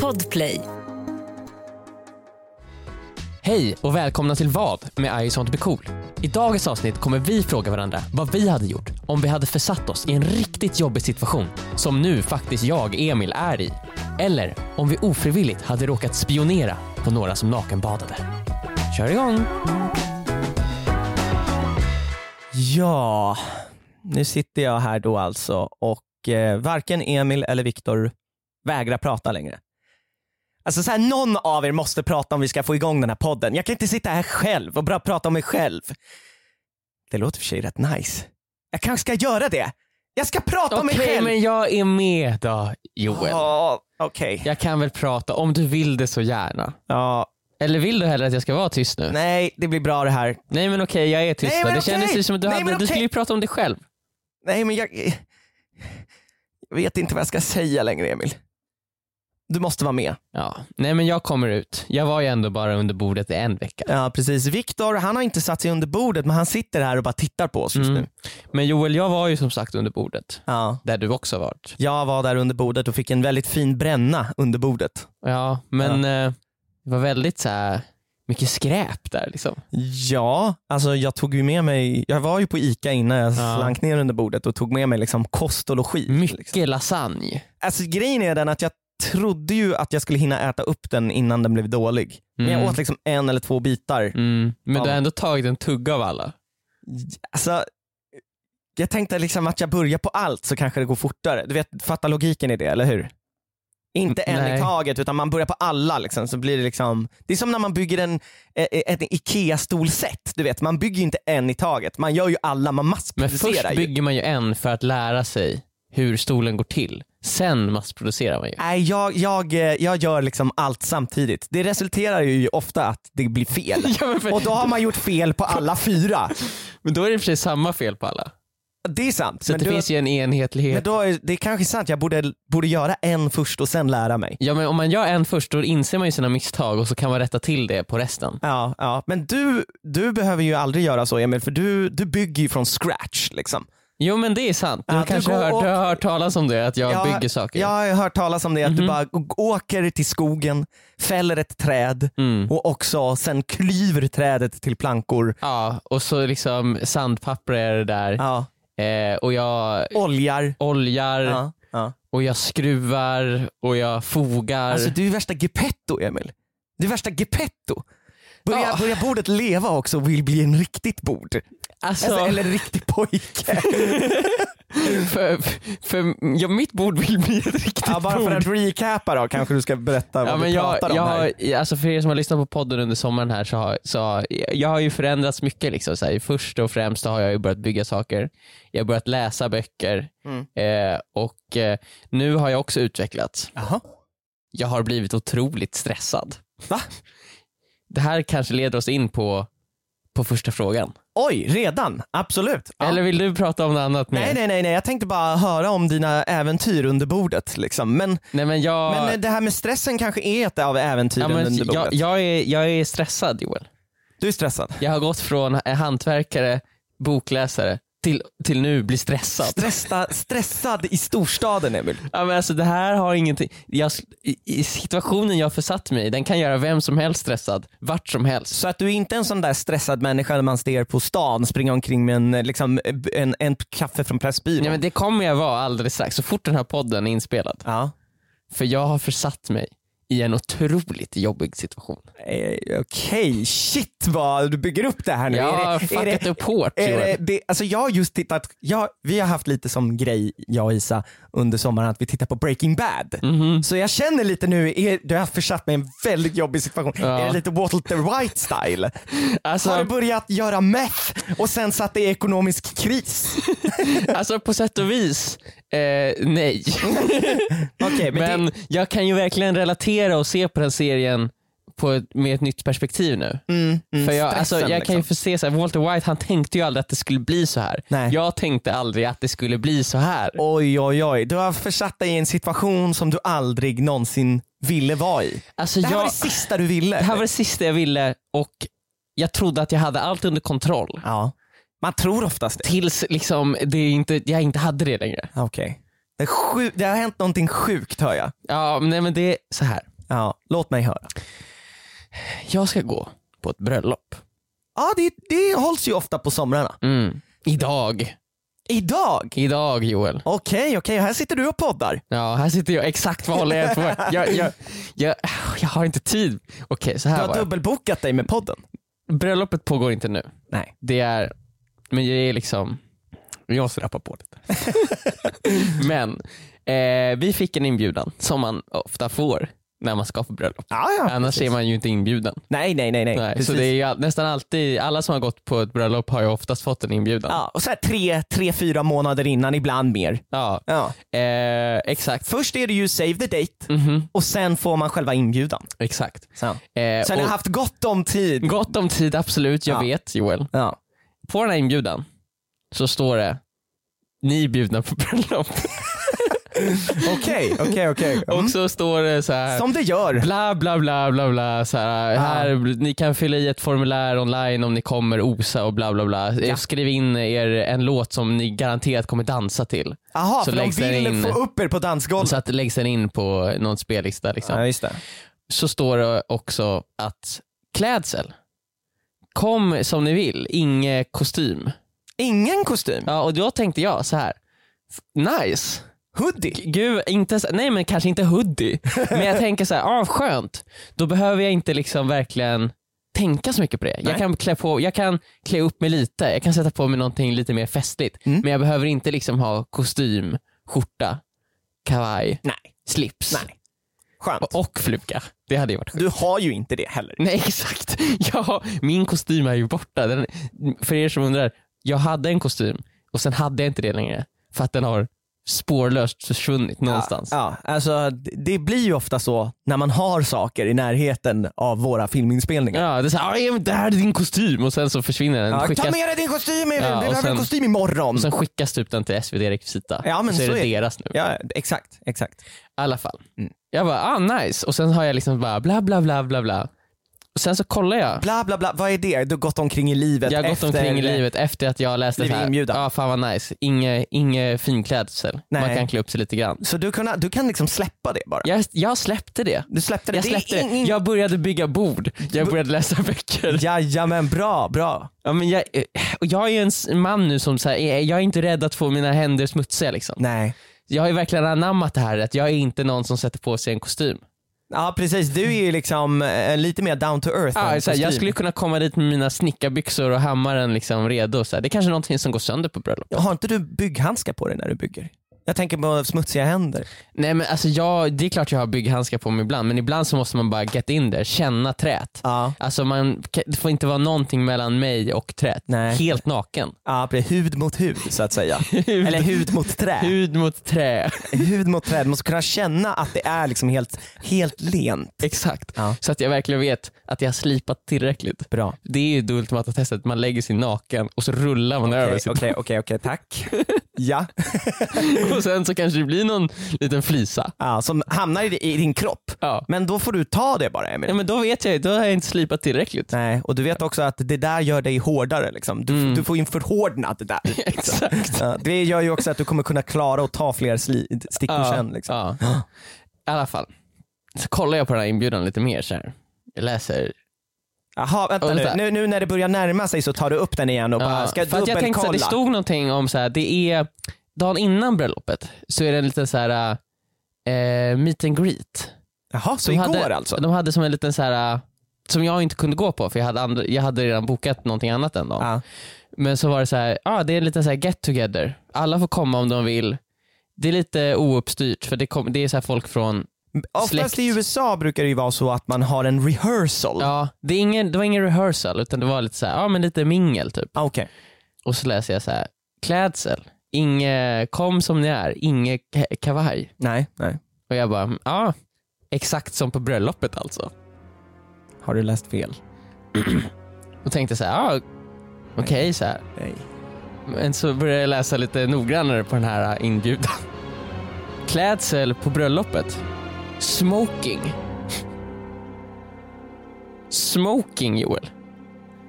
Podplay. Hej och välkomna till Vad med I sånt be cool. I dagens avsnitt kommer vi fråga varandra vad vi hade gjort om vi hade försatt oss i en riktigt jobbig situation som nu faktiskt jag, Emil, är i. Eller om vi ofrivilligt hade råkat spionera på några som nakenbadade. Kör igång! Ja, nu sitter jag här då alltså och eh, varken Emil eller Viktor vägrar prata längre. Alltså så här, någon av er måste prata om vi ska få igång den här podden. Jag kan inte sitta här själv och bara prata om mig själv. Det låter för sig rätt nice. Jag kanske ska göra det. Jag ska prata om mig Okej, själv! men jag är med då, Joel. Ja, Okej. Jag kan väl prata, om du vill det så gärna. Ja, Eller vill du hellre att jag ska vara tyst nu? Nej, nej, det blir bra det här. men okej, jag är tyst Nej, då. men Det okej. kändes ju som att du, Nej, hade, men du skulle okej. ju prata om dig själv. Nej, men jag... Jag vet inte vad jag ska säga längre, Emil. Du måste vara med. Ja. Nej men jag kommer ut. Jag var ju ändå bara under bordet i en vecka. Ja precis, Viktor han har inte satt sig under bordet men han sitter här och bara tittar på oss just Mm. nu. Men Joel, jag var ju som sagt under bordet. Ja. Där du också varit. Jag var där under bordet och fick en väldigt fin bränna under bordet. Ja, men eh, det var väldigt så här, mycket skräp där liksom. Ja, alltså jag tog ju med mig, jag var ju på ICA innan jag Ja. slank ner under bordet och tog med mig liksom kost och logi. Liksom. Mycket lasagne. Alltså grejen är den att jag trodde ju att jag skulle hinna äta upp den innan den blev dålig. Men Mm. jag åt liksom en eller två bitar. Mm. Men Ja. du har ändå tagit en tugga av alla. Alltså, jag tänkte liksom att jag börjar på allt så kanske det går fortare. Du vet, fatta logiken i det, eller hur? Inte en Mm, Nej. i taget utan man börjar på alla liksom, så blir det liksom, det är som när man bygger en, eh, ett IKEA-stolsätt, du vet man bygger ju inte en i taget, man gör ju alla, man Men först massproducerar ju. bygger man ju en för att lära sig hur stolen går till. Sen massproducerar man ju. Nej jag, jag, eh, jag gör liksom allt samtidigt, det resulterar ju ofta att det blir fel. Ja, men, för, Och då har man gjort fel på alla fyra. men då är det i och för sig samma fel på alla. Det är sant. Så men att det då, finns ju en enhetlighet. men då är, det är kanske sant, jag borde, borde göra en först och sen lära mig. Ja men om man gör en först då inser man ju sina misstag och så kan man rätta till det på resten. Ja, ja. men du, du behöver ju aldrig göra så Emil, för du, du bygger ju från scratch. Liksom. Jo men det är sant, du Ja, kanske du går har, hört- du och- har hört talas om det, att jag bygger saker. Mhm. Jag har ju hört talas om det, att du bara å- åker till skogen, fäller ett träd Mm. och också sen klyver trädet till plankor. Ja, och så liksom sandpapper är det där Ja. eh, och jag Oljar. oljar Ja, ja. och jag skruvar och jag fogar. Alltså du är värsta Geppetto Emil. Du är värsta Geppetto. Börjar, Ja. börjar bordet leva också och vill bli en riktigt bord. Alltså, Alltså, Eller en riktig pojke. för, för, ja, mitt bord vill bli ett riktigt ja, bara bord. för att recapa då kanske du ska berätta vad Ja, du men jag, pratar om jag, här. har- alltså för er som har lyssnat på podden under sommaren här så har så, har- jag har ju förändrats mycket. Liksom, så här. Först och främst har jag ju börjat bygga saker. Jag har börjat läsa böcker Mm. eh, och eh, nu har jag också utvecklats. Jaha. Jag har blivit otroligt stressad. Va? Det här kanske leder oss in på, på första frågan. Oj, redan? Absolut. Ja. Eller vill du prata om något annat? mer? Nej, nej, nej, nej, jag tänkte bara höra om dina äventyr under bordet. Liksom. Men, Nej, men jag, men eh, det här med stressen kanske är ett av äventyren ja, men, under bordet. jag, jag, är, jag är stressad Joel. Du är stressad. Jag har gått från eh, hantverkare, bokläsare till, till nu bli stressad. Stressa, stressad i storstaden Emil. Ja, men alltså, det här har ingenting... Jag, i, I situationen jag försatt mig i, den kan göra vem som helst stressad, vart som helst. Så att du är inte en sån där stressad människa när man ser på stan springa omkring med en, eh, liksom, eh, en, en kaffe från Pressbyrån. Ja, men det kommer jag vara alldeles strax, så fort den här podden är inspelad. Ja. För jag har försatt mig i en otroligt jobbig situation. Eh, Okej, shit vad du bygger upp det här nu. Jag har Är det- är det- fuckat upp hårt Är Joel. det, det, alltså jag har just tittat, jag, vi har haft lite som grej, jag och Isa, under sommaren att vi tittar på Breaking Bad. Mhm. Så jag känner lite nu, är, du har försatt mig i en väldigt jobbig situation. Ja. Är det lite Walter White style? Har du Alltså, börjat göra meth och sen satt det i ekonomisk kris? alltså på sätt och vis, eh, nej. Okej, men, Men jag kan ju verkligen relatera och se på den serien på ett, med ett nytt perspektiv nu. det, mm, mm, För jag, stressen, alltså, jag kan ju liksom. få se så här, Walter White han tänkte ju aldrig att det skulle bli så här. Nej. Jag tänkte aldrig att det skulle bli så här. Oj, oj, oj. Du har försatt dig i en situation som du aldrig någonsin ville vara i. alltså, Det här jag, var det sista du ville. det här var det sista jag ville och jag trodde att jag hade allt under kontroll. Ja. Man tror oftast det. Tills liksom, det inte, jag inte hade det längre. Okej. Det, är sju- det har hänt någonting sjukt hör jag. Ja, men, nej, men det är så här. Ja, låt mig höra. Jag ska gå på ett bröllop. Ja, det, det hålls ju ofta på somrarna. Mm. Idag. Idag! Idag Joel. Okej, okej, här sitter du och poddar. Ja, här sitter jag. Exakt vad håller jag på med? jag, jag, jag, jag har inte tid. Okej, så Du här har var det. dubbelbokat dig med podden. Bröllopet pågår inte nu. Nej. Det är, men det är liksom, jag måste rappa på lite. men eh, vi fick en inbjudan som man ofta får när man ska på bröllop. Ja, ja, Annars precis. är man ju inte inbjuden. Nej, nej, nej. nej. Nej, så Precis. det är ju all- nästan alltid, alla som har gått på ett bröllop har ju oftast fått en inbjudan. ja, och så här tre, tre, fyra månader innan, ibland mer. Ja, Ja. eh, exakt. Först är det ju save the date Mhm, och sen får man själva inbjudan. exakt. Sen, Eh, sen har jag och haft gott om tid. gott om tid, absolut. Jag Ja. vet Joel. Ja. På den här inbjudan så står det, ni är bjudna på bröllop. Mm. Okej, okej, okej. Mm. Och så står det så här. Som det gör. Bla bla bla bla bla. Så här, här, ni kan fylla i ett formulär online om ni kommer osa och bla bla bla. Ja. Skriv in er en låt som ni garanterat kommer dansa till. Jaha, så för de läggs den vill in. få upp er på Och dansgolvet. så att det läggs den in på någon spellista. Liksom. Ja, just det. Så står det också att klädsel, kom som ni vill, inge kostym. Ingen kostym. Ja, och då tänkte jag så här. f- nice. Hoodie. G- Gud, inte, så- nej men kanske inte hoodie, men jag tänker så här, ah, skönt. Då behöver jag inte liksom verkligen tänka så mycket på det. Jag Nej. kan, klä på, jag kan klä upp mig lite, jag kan sätta på mig någonting lite mer festligt. Mm. Men jag behöver inte liksom ha kostym, skjorta, kavaj, Nej, slips nej. Skönt. och, och fluga. Det hade ju varit skönt. Du har ju inte det heller. Nej exakt, ja, min kostym är ju borta. Den, för er som undrar, jag hade en kostym och sen hade jag inte det längre för att den har spårlöst försvunnit någonstans. Ja, ja, alltså, d- det blir ju ofta så när man har saker i närheten av våra filminspelningar. Ja, det är såhär, "Ja, men det här är din kostym och sen så försvinner den. Ja, ta skickas, med dig din kostym, Emil. Ja, vi och behöver en sen- kostym imorgon. och sen skickas typ den till SvD Rekvisita. Ja, men och så, är så det är det. deras nu. I Ja, exakt, exakt. alla fall. Mm. Jag bara, ah nice. Och sen har jag liksom bara bla bla bla bla bla. Och sen så kollar jag. Bla bla bla, vad är det? Du har gått omkring i livet Jag har gått efter... omkring i livet efter att jag läste blivit så här, inbjuden. Ja, fan vad nice. Inge, inge finklädsel. Nej. Man kan klä upp sig lite grann. Så du, kunna, du kan liksom släppa det bara? Jag, jag släppte det. Du släppte det? Jag släppte det det. är ingen... Jag började bygga bord. Jag började läsa böcker. Jajamän, bra, bra. Ja, men jag, eh, och jag är ju en s- man nu som så här, eh, jag jag är inte rädd att få mina händer smutsiga. Liksom. Nej. Jag har ju verkligen anammat det här att jag är inte någon som sätter på sig en kostym. Ja precis, du är ju liksom eh, lite mer down to earth. Ah, så än här, jag kostym. skulle kunna komma dit med mina snickarbyxor och hammaren liksom redo. Så här. Det är kanske är någonting som går sönder på bröllop. Har inte du bygghandskar på dig när du bygger? Jag tänker på smutsiga händer. Nej, men alltså jag, det är klart jag har bygghandskar på mig ibland, men ibland så måste man bara get in där, känna träet. Ja. Alltså man, kan- det får inte vara någonting mellan mig och träet. Nej. Helt naken. Ja, precis. Hud mot hud så att säga. Eller hud mot trä. Hud mot trä. hud mot träd. Man måste kunna känna att det är liksom helt, helt lent. Exakt. Ja. Så att jag verkligen vet att jag har slipat tillräckligt. Bra. Det är ju det ultimata testet, man lägger sig naken och så rullar man över Okej, sitt okej, okej, okej, tack. ja. och sen så kanske det blir någon liten flisa. ja, som hamnar i, i din kropp. Ja. Men då får du ta det bara Emil. ja men då vet jag ju, då har jag inte slipat tillräckligt. Nej, och du vet också att det där gör dig hårdare. Liksom. Du, Mm. du får ju en förhårdnad där. Exakt. Ja, det gör ju också att du kommer kunna klara att ta fler sli- stickor sen. Liksom. ja. I alla fall, så kollar jag på den här inbjudan lite mer så här. Jag läser. Jaha, vänta Och nu. vänta. nu. Nu när det börjar närma sig så tar du upp den igen och bara Ja, ska för att jag tänkte så här, det dubbelkolla. stod någonting om så här, det är dagen innan bröllopet så är det en liten så här eh, meet and greet. Jaha, så De igår hade, alltså? De hade som en liten så här som jag inte kunde gå på för jag hade, andra, jag hade redan bokat någonting annat den dagen. Ja. Men så var det så här, ah, det är en liten så här get together. Alla får komma om de vill. Det är lite ouppstyrt för det, kom, det är så här folk från, Mm, Oftast släkt. i USA brukar det ju vara så att man har en rehearsal. ja, det, är ingen, det var ingen rehearsal utan det var lite så här, ja ah, men lite mingel typ. Ah, Okej. Och så läser jag så här, klädsel, inge, kom som ni är, inge ka- kavaj. Nej, nej. Och jag bara, ja, ah, exakt som på bröllopet alltså. Har du läst fel? Och tänkte så här, ah, okej så här. Nej. Men så började jag läsa lite noggrannare på den här inbjudan. Klädsel på bröllopet. Smoking. Smoking Joel.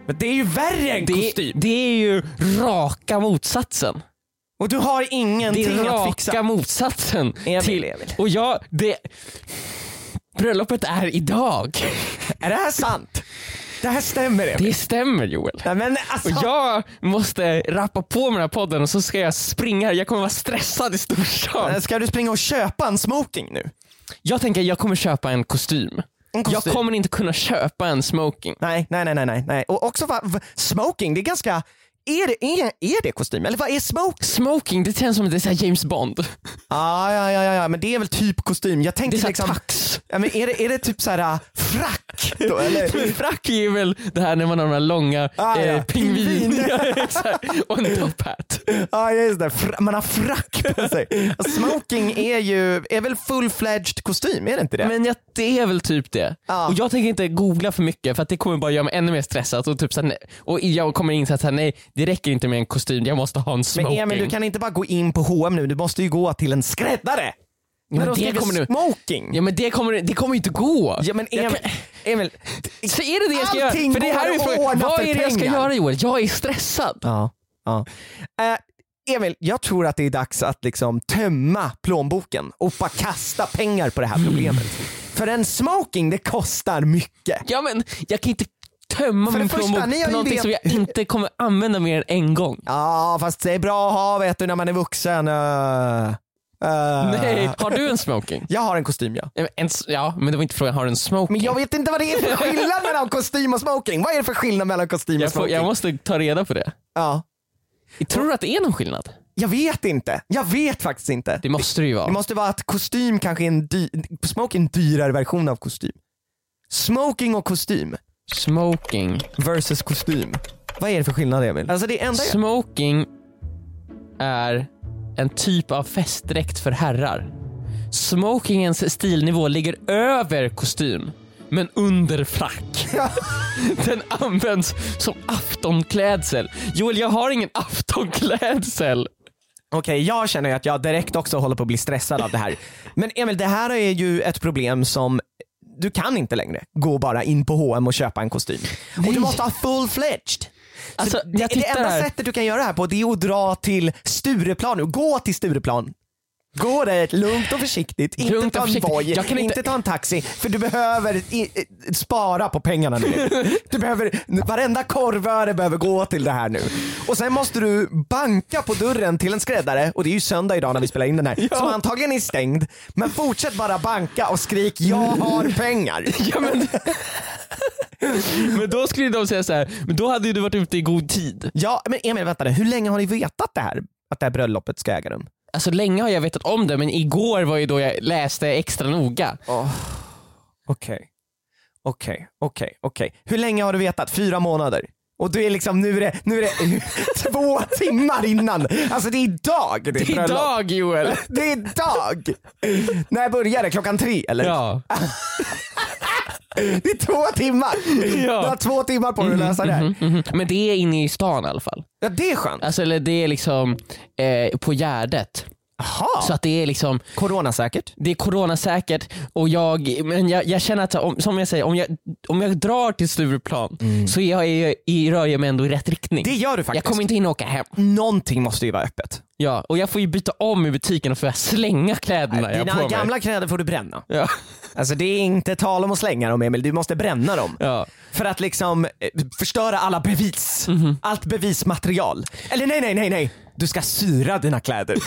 Men det är ju värre än Det, kostym! det är ju raka motsatsen. Och du har Det ingenting är att raka fixa. motsatsen. Emil, till, Emil. Och jag, det... Bröllopet är idag. Är det här sant? Det här stämmer Emil. Det stämmer Joel. Nej, men alltså, Och jag måste rappa på med den här podden och så ska jag springa. Jag kommer vara stressad i storstan. Ska du springa och köpa en smoking nu? Jag tänker jag kommer köpa en kostym. En kostym. Jag kommer inte kunna köpa en smoking. Nej, nej, nej, nej, nej, nej. Och också va, v- smoking, det är ganska... Är det, är, är det kostym? Eller vad är smoking? Smoking, det känns som det är så här James Bond. Ah, ja, ja, ja, ja, men det är väl typ kostym. Jag Det tänkte är så här liksom... tax. Ja, men är, det, är det typ så här äh, frack? Då, eller? Men frack är ju väl det här när man har de här långa Ah, eh, ja. pingvin... Pingvin. Ja, exakt. och en top hat. Ja, just det. Fra- Man har frack på sig. Smoking är ju är väl full-fledged kostym, är det inte det? Men jag, det är väl typ det. Ja. Och jag tänker inte googla för mycket för att det kommer bara göra mig ännu mer stressad och, typ så här, nej- och jag kommer inse att så här, nej, det räcker inte med en kostym, jag måste ha en Men smoking. Emil, du kan inte bara gå in på H&M nu. Du måste ju gå till en skräddare. men Men de det skriver kommer nu- smoking. Ja men det kommer, det kommer ju inte gå. Ja, men Jag Emil, kan- Emil. Så är det det jag ska göra? Allting För det här går är ju att frågan, ordna vad för är det jag ska pengar. göra Joel? Jag är stressad. Ja, ja. Eh, Emil, jag tror att det är dags att liksom tömma plånboken och bara kasta pengar på det här problemet. För en smoking, det kostar mycket. Ja men jag kan inte tömma För det min första, plånbok ni har på ju någonting vet- som jag inte kommer använda mer än en gång. Ja, fast det är bra att ha vet du när man är vuxen. Eh, eh. Nej, har du en smoking? Jag har en kostym ja. Ja, men En, s- ja men det var inte frågan, har du en smoking? Men jag vet inte vad det är för skillnad mellan kostym och smoking. Vad är det för skillnad mellan kostym och jag, får, smoking? jag måste ta reda på det. Ja. Tror du att det är någon skillnad? Jag vet inte. Jag vet faktiskt inte. Det måste det ju vara. Det måste vara att kostym kanske är en, dy- smoking är en dyrare version av kostym. Smoking och kostym Smoking. versus kostym. Vad är det för skillnad Emil? Alltså det enda jag... Smoking är en typ av festdräkt för herrar. Smokingens stilnivå ligger över kostym, men under frack. Den används som aftonklädsel. Joel, jag har ingen aftonklädsel. Okej, jag känner ju att jag direkt också håller på att bli stressad av det här. Men Emil, det här är ju ett problem som du kan inte längre gå bara in på H&M och köpa en kostym. Och du måste ha full-fledged. Så Alltså, det, jag det tittar enda här. sättet du kan göra det här på det är att dra till Stureplan nu. Gå till Stureplan. Gå där lugnt och försiktigt. Inte Lugnt och ta en försiktigt. Voi, Jag inte... kan inte- ta en taxi. För du behöver i, i, spara på pengarna nu. du behöver, varenda korvöre behöver gå till det här nu. Och sen måste du banka på dörren till en skräddare, och det är ju söndag idag när vi spelar in den här, som antagligen är stängd. Men fortsätt bara banka och skrik “Jag har pengar”. Ja, men... men då skulle de säga så här, men då hade ju du varit ute i god tid. Ja, men Emil vänta nu. Hur länge har ni vetat det här? Att det här bröllopet ska äga rum? Alltså länge har jag vetat om det, men igår var ju då jag läste extra noga. Okej. Okej, okej, okej. Hur länge har du vetat? Fyra månader? Och du är liksom, nu är det, nu är det två timmar innan. Alltså det är idag det är bröllop. Idag Joel! Det är idag! När börjar det? Klockan tre eller? Ja. Det är två timmar! Ja. Du har två timmar på dig att lösa det här. Mhm. Men det är inne i stan i alla fall. Ja, det är skönt. Alltså, eller det är liksom eh, på Gärdet. Jaha, Så att det är liksom coronasäkert. det är coronasäkert och jag, men jag, jag känner att så här, om, som jag säger, om jag, om jag drar till Stureplan så är jag, är, är, rör jag mig ändå i rätt riktning. Mm. Det gör du jag faktiskt. kommer inte hinna åka hem. Någonting måste ju vara öppet. Ja, och jag får ju byta om i butiken och får jag slänga kläderna jag har Dina på mig. gamla kläder får du bränna. Ja, Alltså det är inte tal om att slänga dem Emil, du måste bränna dem. ja. För att liksom eh, förstöra alla bevis. Mhm. Allt bevismaterial. Eller nej, nej, nej, nej. Du ska syra dina kläder.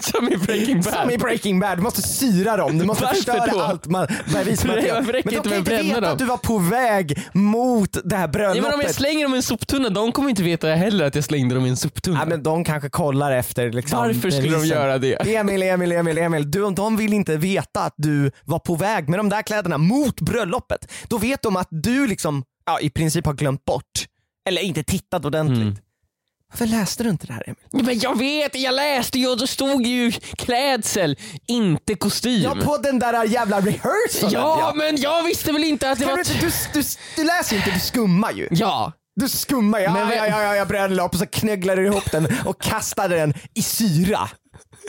Som i Breaking Bad. Som i Breaking Bad, du måste syra dem. Du måste Varför förstöra då? allt man, bevismaterial. Varför räcker Men de inte kan med inte att bränna veta dem? att du var på väg mot det här Nej, bröllopet. men om jag slänger dem i en soptunna, de kommer inte veta heller att jag slängde dem i en soptunna. Ja, men de kanske kollar efter liksom, Varför skulle de bevisen. göra det? Emil, Emil, Emil, Emil. Du, de vill inte veta att du var på väg med de där kläderna mot bröllopet. Då vet de att du liksom, ja, i princip har glömt bort. Eller inte tittat ordentligt. Varför läste du inte det här Emil? Mm. Ja, Men jag vet, jag läste ju och då stod ju klädsel, inte kostym. Ja, på den där jävla rehearsalen ja, men jag visste väl inte att det Kan var... du, inte- du, du, du läser ju inte, du skummar ju. Ja. Du skummar ju, Men ja, vem- ja, ja, ja, jag bröllop och så knögglar du ihop den och kastar den i syra.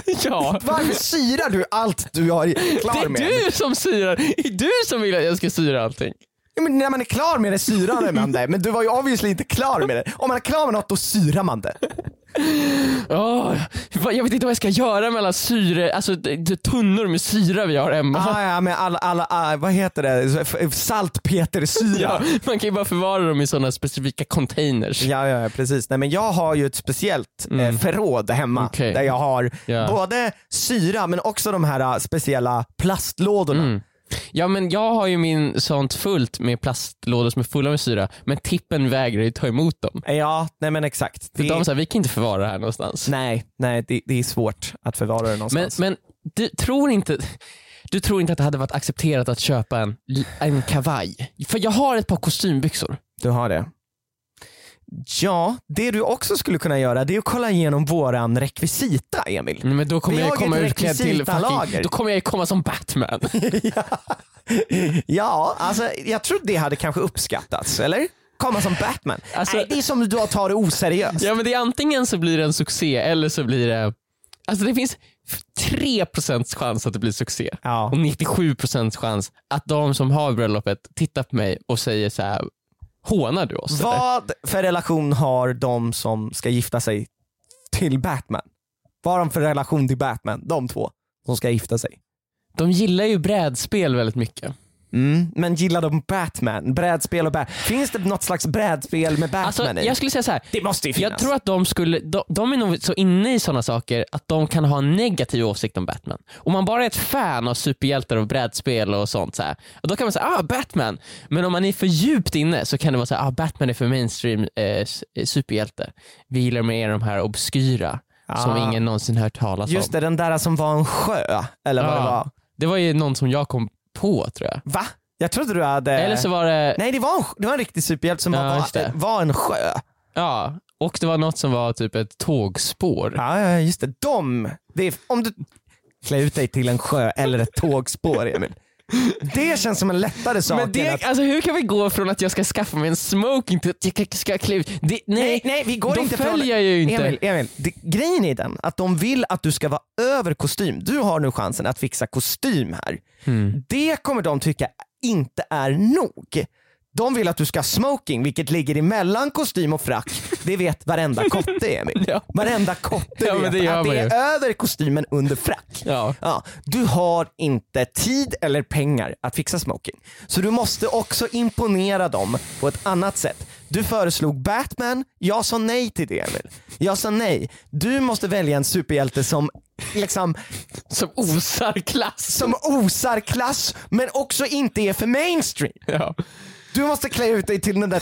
ja. Varför syrar du allt du har Det klar är med? du som syrar. Det är du som vill att jag ska syra allting. Ja, men när man är klar med det syrar man det, men du var ju obviously inte klar med det. Om man är klar med något då syrar man det. Åh, vad- jag vet inte vad jag ska göra med alla syre, alltså d- d- tunnor med syra vi har hemma. Ah, ja, men alla, alla, ah, vad heter det? Saltpetersyra. Ja, man kan ju bara förvara dem i sådana specifika containers. Ja, ja, ja, precis. Nej, men jag har ju ett speciellt eh, förråd hemma Mm. Okej. där jag har Ja. både syra men också de här eh, speciella plastlådorna. Mm. Ja men jag har ju min sånt fullt med plastlådor som är fulla med syra, men tippen vägrar ju ta emot dem. Ja, nej men exakt. För Det- de säger vi kan inte förvara det här någonstans. Nej, nej det, det är svårt att förvara det Men, någonstans. men du tror inte du tror inte att det hade varit accepterat att köpa en, en kavaj? För jag har ett par kostymbyxor. Du har det. Ja, det du också skulle kunna göra det är att kolla igenom våran rekvisita, Emil. Nej, Men då kommer Vi jag ju har komma ett utklädd till fucking, rekvisitalager. Då kommer jag ju komma som Batman. ja, alltså jag tror det hade kanske uppskattats, eller? Komma som Batman. Alltså- Nej, det är som du tar det oseriöst. ja men det är antingen så blir det en succé eller så blir det... Alltså det finns 3% chans att det blir succé. Ja. och 97% chans att de som har bröllopet tittar på mig och säger så här: hånar du oss? eller?" Vad för relation har de som ska gifta sig till Batman? Vad har de för relation till Batman, de två som ska gifta sig? De gillar ju brädspel väldigt mycket. Mm. Men gillar de Batman? Brädspel och Batman? Finns det något slags brädspel med Batman Alltså, i? jag skulle säga så här. Det måste ju finnas. Jag tror att de, skulle, de, de är nog så inne i sådana saker att de kan ha en negativ åsikt om Batman. Om man bara är ett fan av superhjältar och brädspel och sånt, så här, då kan man säga ah Batman. Men om man är för djupt inne så kan det vara så här, ah Batman är för mainstream eh, s- eh, superhjälte. Vi gillar mer de här obskyra som Ah. ingen någonsin hört talas om. Just det, den där som var en sjö, eller vad Ja. det var. Det var ju någon som jag kom på tror jag. Va? Jag trodde du hade... Eller så var det, Eh. Nej, det var en, sj- det var en riktig superhjälte som Ja, just det. var, var en sjö. ja, och det var något som var typ ett tågspår. Ja, ja, just det. De. det är, om du klär ut dig till en sjö eller ett tågspår, Emil. Det känns som en lättare sak Men det, än att... alltså hur kan vi gå från att jag ska skaffa mig en smoking till att jag ska klä ut... Det, nej, Nej, nej, vi går då inte följer från... jag ju inte. Emil, Emil det, grejen är den att de vill att du ska vara över kostym. Du har nu chansen att fixa kostym här. Mm. Det kommer de tycka inte är nog. De vill att du ska ha smoking, vilket ligger emellan kostym och frack. Det vet varenda kotte, Emil. Ja. Varenda kotte Ja, men vet det gör att man det ju. är över kostymen under frack. Ja. Ja, du har inte tid eller pengar att fixa smoking. Så du måste också imponera dem på ett annat sätt. Du föreslog Batman, jag sa nej till det Emil. Jag sa nej. Du måste välja en superhjälte som liksom Som osar klass. som osar klass men också inte är för mainstream. Ja. Du måste klä ut dig till den där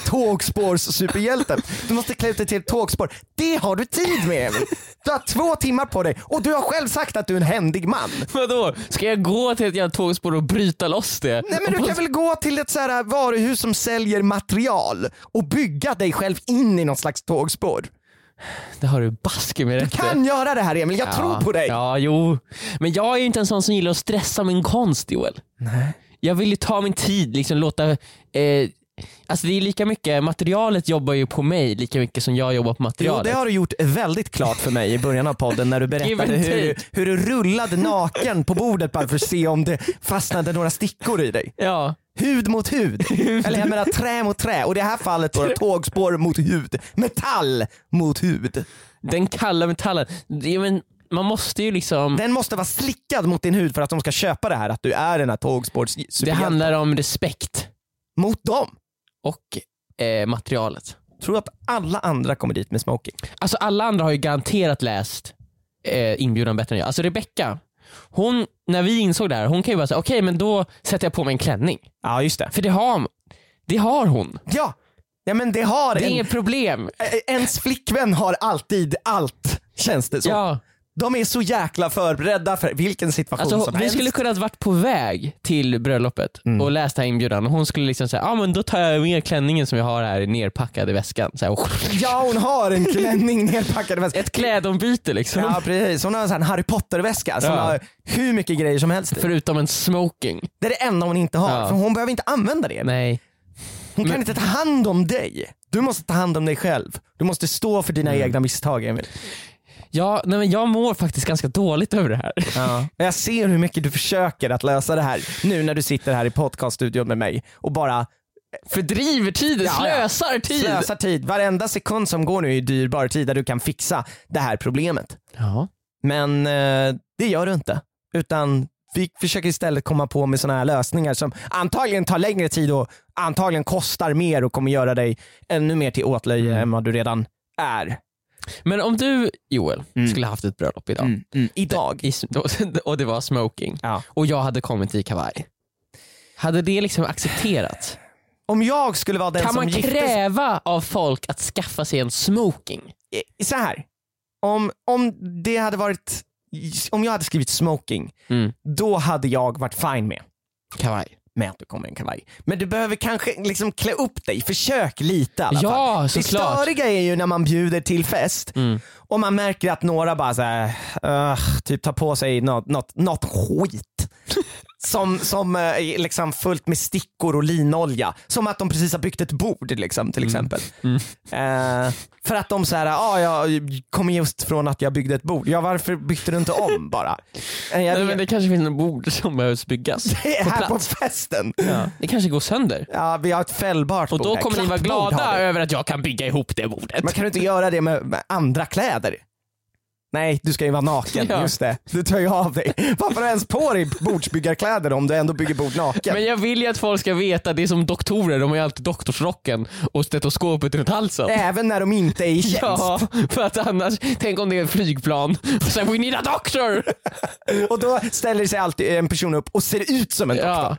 tågspårs-superhjälten. Du måste klä ut dig till ett tågspår. Det har du tid med Emil. Du har två timmar på dig och du har själv sagt att du är en händig man. Vadå? Ska jag gå till ett jävla tågspår och bryta loss det? Nej men Och du på- kan väl gå till ett så här varuhus som säljer material och bygga dig själv in i någon slags tågspår. Det har du baske mig rätt i. Kan göra det här Emil, jag tror på dig. Ja, jo. Men jag är ju inte en sån som gillar att stressa min konst Joel. Nej. Jag vill ju ta min tid, liksom låta... Eh, alltså det är lika mycket, materialet jobbar ju på mig lika mycket som jag jobbar på Jo, det materialet. har du gjort väldigt klart för mig i början av podden när du Give berättade and hur, hur du rullade naken på bordet bara för att se om det fastnade några stickor i dig. Ja, Hud mot hud, eller jag menar trä mot trä och i det här fallet då tågspår mot hud, metall mot hud. den kalla metallen. Det, men, man måste ju liksom... Den måste vara slickad mot din hud för att de ska köpa det här att du är den här tågspårs Det handlar om respekt mot dem. och eh, materialet. Tror du att alla andra kommer dit med smoking? Alltså alla andra har ju garanterat läst eh, inbjudan bättre än jag. Alltså Rebecca, hon, när vi insåg det här, hon kan ju bara säga okej men då sätter jag på mig en klänning. Ja, just det. För det har, det har hon. Ja, ja men det har Det är en, inget problem. ä- ens flickvän har alltid allt känns det som. Ja, De är så jäkla förberedda för vilken situation alltså, som vi helst. Mm. skulle kunnat varit på väg till bröllopet och läst den här inbjudan och hon skulle liksom säga ah, men då tar jag med klänningen som jag har här nerpackad i väskan. Så här, Ja hon har en klänning nerpackad i väskan. ett klädombyte liksom. Ja precis, hon har en sån här Harry Potter-väska som Ja. har hur mycket grejer som helst i. Förutom en smoking. Det är det enda hon inte har, Ja. för hon behöver inte använda det. Nej. Hon kan inte ta hand om dig. Du måste ta hand om dig själv. Du måste stå för dina Mm. egna misstag Emil. Ja, nej men jag mår faktiskt ganska dåligt över det här. Ja. Jag ser hur mycket du försöker att lösa det här nu när du sitter här i podcaststudion med mig och bara Fördriver tiden, Ja, ja. slösar tid. Slösar tid. Varenda sekund som går nu är dyrbar tid där du kan fixa det här problemet. Ja. Men eh, det gör du inte. Utan vi försöker istället komma på med sådana här lösningar som antagligen tar längre tid och antagligen kostar mer och kommer göra dig ännu mer till åtlöje Mm. än vad du redan är. Men om du Joel Mm. skulle haft ett bröllop idag Idag. i, och det var smoking Ja. och jag hade kommit i kavaj. Hade det liksom accepterats? Om jag skulle vara den Kan som man gifte kräva av folk att skaffa sig en smoking? sig... Eh, Så här. Om, om det hade varit... Om jag hade skrivit smoking, Mm. då hade jag varit fine med. Kavaj. med att du kommer i en kavaj. Men du behöver kanske liksom klä upp dig, försök lite i alla fall. Ja, Det såklart. störiga är ju när man bjuder till fest Mm. och man märker att några bara så här, "Ugh", typ tar på sig något, något, något skit. Som, som eh, är liksom fullt med stickor och linolja. Som att de precis har byggt ett bord liksom, Mm. till exempel. Eh, för att de säger ah, jag kommer just från att jag byggde ett bord. Ja, varför byggde du inte om bara? Eh, jag Nej, vet- men det kanske finns en bord som behövs byggas. på här på plats. festen. Det kanske går sönder. Ja, vi har ett fällbart Och bord då här. kommer ni vara Klappbord har glada vi. över att jag kan bygga ihop det bordet. Men kan du inte göra det med, med andra kläder? Nej, du ska ju vara naken. Ja. Just det. Du tar ju av dig. Varför har du ens på dig bordsbyggarkläder om du ändå bygger bord naken? Men jag vill ju att folk ska veta, det är som doktorer, de har ju alltid doktorsrocken och stetoskopet runt halsen. Även när de inte är i tjänst. Ja, för att annars, tänk om det är ett flygplan och sen we need a doctor! Och då ställer sig alltid en person upp och ser ut som en doktor. Ja,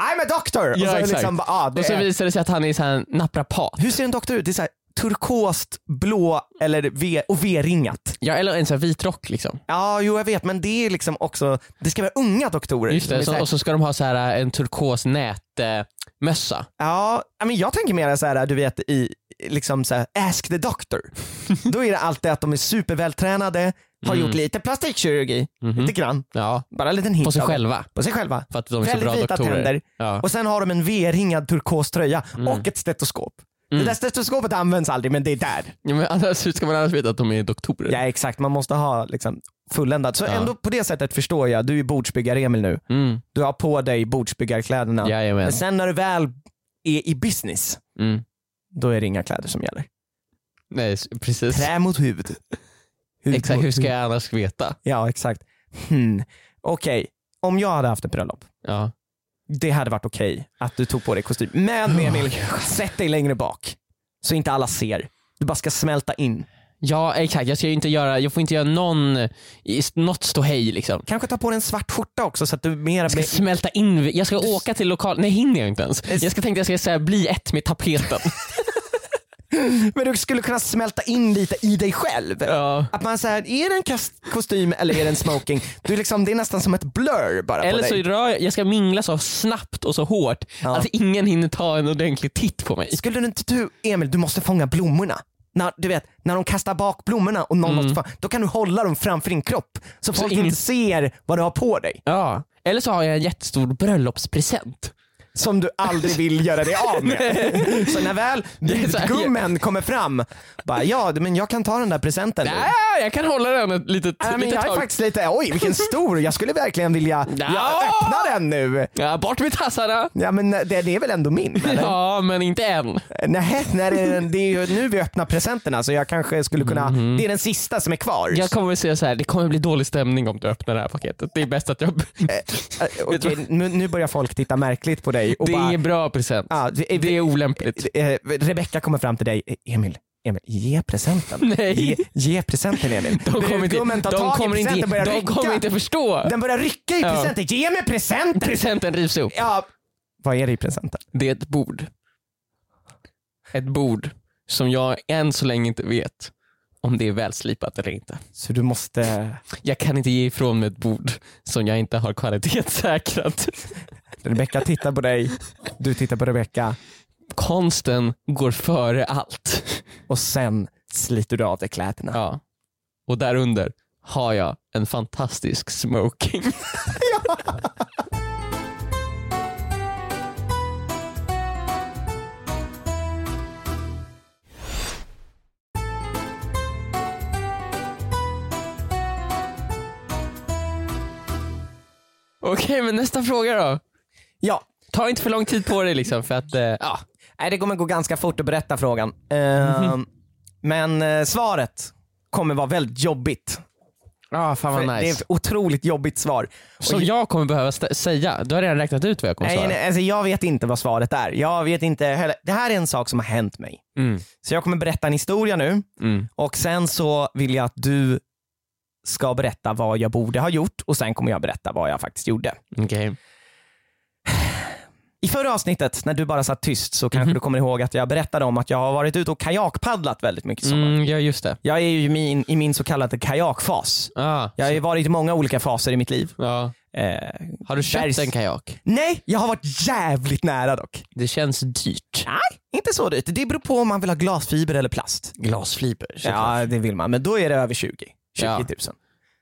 I'm a doctor! och Ja, så, är det exakt. liksom, bara, ah, det och så är... visar det sig att han är så här naprapat. Hur ser en doktor ut? Det är så här, turkost, blå eller v- och V-ringat. Ja, eller en sån här vit rock liksom. Ja, jo jag vet men det är liksom också, det ska vara unga doktorer. Just som är det, så här- så, och så ska de ha så här eh, en turkos nätmössa. Ja, ja, men jag tänker mer så här, du vet i liksom så här, ask the doctor. Då är det alltid att de är supervältränade, har Mm. gjort lite plastikkirurgi, lite grann, Ja, bara en liten hint på sig av det. själva. På sig själva. För att de är så Väldigt bra vita doktorer. tänder. Ja. Mm. Och sen har de en V-ringad turkos tröja och ett stetoskop. Det där stetoskopet används aldrig men det är där. Ja, men annars, hur ska man annars veta att de är doktorer? Ja exakt, man måste ha liksom fulländat. Så Ja. ändå på det sättet förstår jag, du är bordsbyggare-Emil nu. Mm. Du har på dig bordsbyggarkläderna. Jajamän. Men sen när du väl är i business, Mm. då är det inga kläder som gäller. Nej, s- precis. Trä mot huvud. Huvud Exakt, mot hur ska huvud. jag annars veta? Ja, exakt. Hmm. Okej, om jag hade haft ett bröllop, Ja. det hade varit okej att du tog på dig kostym. Oh Men Emil, sätt dig längre bak. Så inte alla ser. Du bara ska smälta in. ja, exakt. Jag, ska ju inte göra, jag får inte göra någon, i- något ståhej liksom. Kanske ta på dig en svart skjorta också så att du mera Jag ska blir... smälta in, jag ska åka till lokalen, nej hinner jag inte ens. Jag ska tänka jag ska säga bli ett med tapeten. Men du skulle kunna smälta in lite i dig själv. ja. Att man säger, är det en kast- kostym eller är det en smoking? Du liksom, det är nästan som ett blur bara Eller på så dig. rör jag, jag ska mingla så snabbt och så hårt Ja. att ingen hinner ta en ordentlig titt på mig. Skulle du inte du, Emil, du måste fånga blommorna. När, du vet, när de kastar bak blommorna och någon Mm. måste fånga, då kan du hålla dem framför din kropp så folk ingen- inte ser vad du har på dig. Ja. Eller så har jag en jättestor bröllopspresent. Som du aldrig vill göra dig av med. så när väl så här- brudgummen kommer fram, bara ja men jag kan ta den där presenten nu." Äh, jag kan hålla den ett litet, Nej, men litet jag är tag. faktiskt lite, oj vilken stor, jag skulle verkligen vilja, jag öppnar den nu. Ja, bort med tassarna! Ja men eh, det, det är väl ändå min? Eller? Ja, men inte än. Nej, nej det, är, det är ju nu vi öppnar presenterna så jag kanske skulle kunna, det är den sista som är kvar. Mhm. Jag kommer att säga så här, det kommer bli dålig stämning om du öppnar det här paketet. Det är bäst att jag... Eh, Okej, nu, nu börjar folk titta märkligt på dig och Det är bara, ingen bra present. ja, det, Det är olämpligt. eh, Rebecka kommer fram till dig, "Eh, Emil, Emil ge presenten. Nej. Ge, ge presenten Emil. De kommer inte, Brudgummen tar de tag i kommer presenten inte, och börjar de rycka. kommer inte förstå. Den börjar rycka i Ja. presenten, ge mig presenten! Presenten rivs upp. Ja. Vad är det i presenten? Det är ett bord. Ett bord som jag än så länge inte vet om det är välslipat eller inte. Så du måste, Jag kan inte ge ifrån mig ett bord som jag inte har kvalitetssäkrat. Rebecka tittar på dig, du tittar på Rebecka Konsten går före allt. och sen sliter du av dig kläderna. Ja. Och där under har jag en fantastisk smoking. Okej, men nästa fråga då. ja. Ta inte för lång tid på dig liksom för att, eh, ja. Nej, det kommer gå ganska fort att berätta frågan. Ehm, Mhm. Men eh, svaret kommer vara väldigt jobbigt. Ah, fan För vad Det är ett nice. otroligt jobbigt svar. Och Som jag kommer behöva st- säga. Du har redan räknat ut vad jag kommer Nej, svara. nej, alltså jag vet inte vad svaret är. Jag vet inte heller. Det här är en sak som har hänt mig. Mm, Så jag kommer berätta en historia nu mm. och sen så vill jag att du ska berätta vad jag borde ha gjort och sen kommer jag berätta vad jag faktiskt gjorde. Okej. I förra avsnittet, när du bara satt tyst, så kanske Mhm. du kommer ihåg att jag berättade om att jag har varit ute och kajakpaddlat väldigt mycket i sommar. Mm, ja, just det. Jag är ju min, i min så kallade kajakfas. Ah, Jag har ju varit i många olika faser i mitt liv. ja. Eh, Har du köpt Bergs- en kajak? nej, jag har varit jävligt nära dock. Det känns dyrt. Inte så dyrt. Det beror på om man vill ha glasfiber eller plast. Glasfiber såklart. Ja, det vill man. Men då är det över 20. 20 Ja. 000.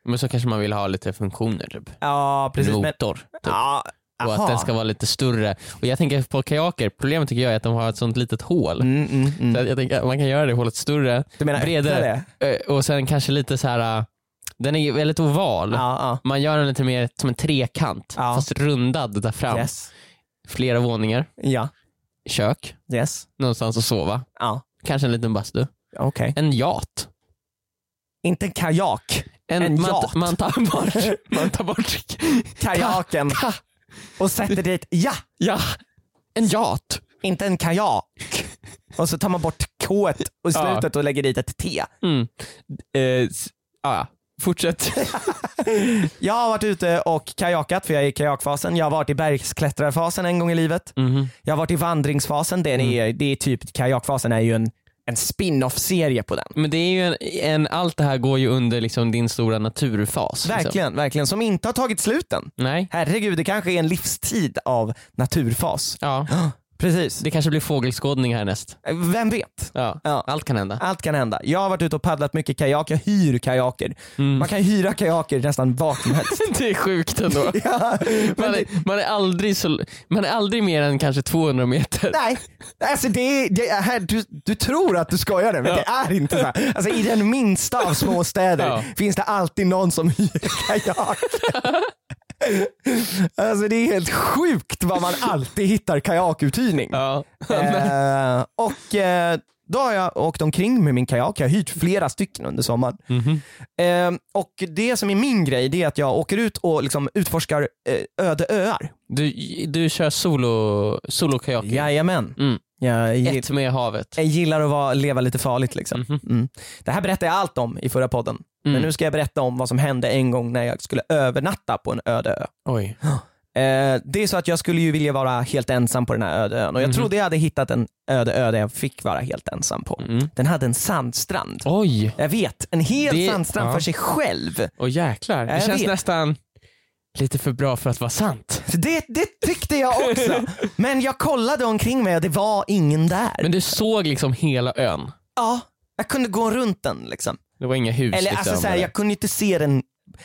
Men så kanske man vill ha lite funktioner typ. Ja, precis. Men, Motor. Typ. ja, och aha. att den ska vara lite större. Och jag tänker på kajaker, problemet tycker jag är att de har ett sånt litet hål. Mm, mm, Så mm. att jag tänker att man kan göra det hålet större Du menar bredare. bredare? Ö, och sen kanske lite så här. äh, den är ju väldigt oval. Ja, ja. Man gör den lite mer som en trekant Ja. fast rundad där fram. Yes. Flera våningar, Ja. kök, Yes. någonstans att sova, Ja. kanske en liten bastu. Okej. En yacht. Inte en kajak. En man, yacht. Man tar bort, man tar bort Kajaken. ka, Och sätter dit, ja, ja, en yacht. inte en kajak. Och så tar man bort k och i Ja. slutet och lägger dit ett T. Mm. Eh, s- ah, ja. fortsätt. Jag har varit ute och kajakat för jag är i kajakfasen. Jag har varit i bergsklättrarfasen en gång i livet. Mhm. Mm. Jag har varit i vandringsfasen. Den är, det är typ, kajakfasen är ju en, en spin-off-serie på den. Men det är ju en, en, allt det här går ju under liksom din stora naturfas. Liksom. Verkligen, verkligen. Som inte har tagit sluten. Nej. Herregud, det kanske är en livstid av naturfas. Ja. Precis. Det kanske blir fågelskådning härnäst. Vem vet? Ja. Ja. Allt kan hända. Allt kan hända. Jag har varit ute och paddlat mycket kajak. Jag hyr kajaker. Mm. Man kan hyra kajaker nästan vart som helst. det är sjukt ändå. ja, Alltså, men Man det, är, man, är aldrig så, man är aldrig mer än kanske 200 meter. nej, alltså det, är- det är, här, du, du tror att du skojar nu, men det är inte så. här. Alltså, I den minsta av småstäder Ja. finns det alltid någon som hyr kajak. alltså det är helt sjukt vad man alltid hittar kajakuthyrning. Ja. Eh, och eh, då har jag åkt omkring med min kajak. Jag har hyrt flera stycken under sommaren. Mhm. Eh, och det som är min grej, det är att jag åker ut och liksom utforskar eh, öde öar. Du, du kör solo, solo kajak. Jajamän. Mm. Jag, gill, Ett med havet. jag gillar att vara, leva lite farligt liksom. Mhm. Mm. Det här berättade jag allt om i förra podden. Men Mm. nu ska jag berätta om vad som hände en gång när jag skulle övernatta på en öde ö. Oj. Eh, det är så att jag skulle ju vilja vara helt ensam på den här öde ön och jag Mhm. trodde jag hade hittat en öde ö där jag fick vara helt ensam på. Mm. Den hade en sandstrand. Oj. Jag vet, en hel Det- sandstrand ja. för sig själv. Och jäklar. Det Jag känns vet. nästan lite för bra för att vara sant. Så Det, det tyckte jag också. Men jag kollade omkring mig och det var ingen där. Men du såg liksom hela ön. ja, jag kunde gå runt den liksom. Det var inga hus. Eller liksom, alltså, så här, eller- jag kunde inte se den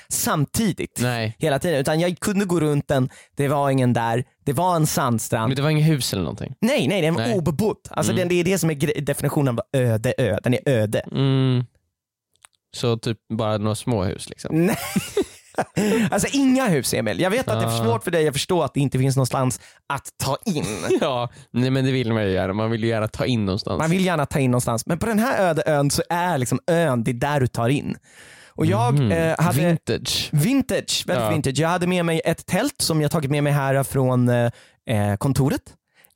samtidigt Nej. hela tiden. Utan jag kunde gå runt den, det var ingen där, det var en sandstrand. Men det var inga hus eller någonting? Nej, nej, den var Nej. obebodd. Alltså Mm. den, det är det som är gre- definitionen av öde ö. Den är öde. Mm. Så typ bara några små hus liksom? Nej. alltså inga hus Emil. Jag vet att det är Ah. svårt för dig att förstå att det inte finns någonstans att ta in. Ja, nej men det vill man ju gärna. Man vill ju gärna ta in någonstans. Man vill gärna ta in någonstans, men på den här öde ön så är liksom ön, det är där du tar in. Och jag Mhm. eh, hade Vintage. vintage, väldigt Ja. vintage. Jag hade med mig ett tält som jag tagit med mig här från eh, eh, kontoret.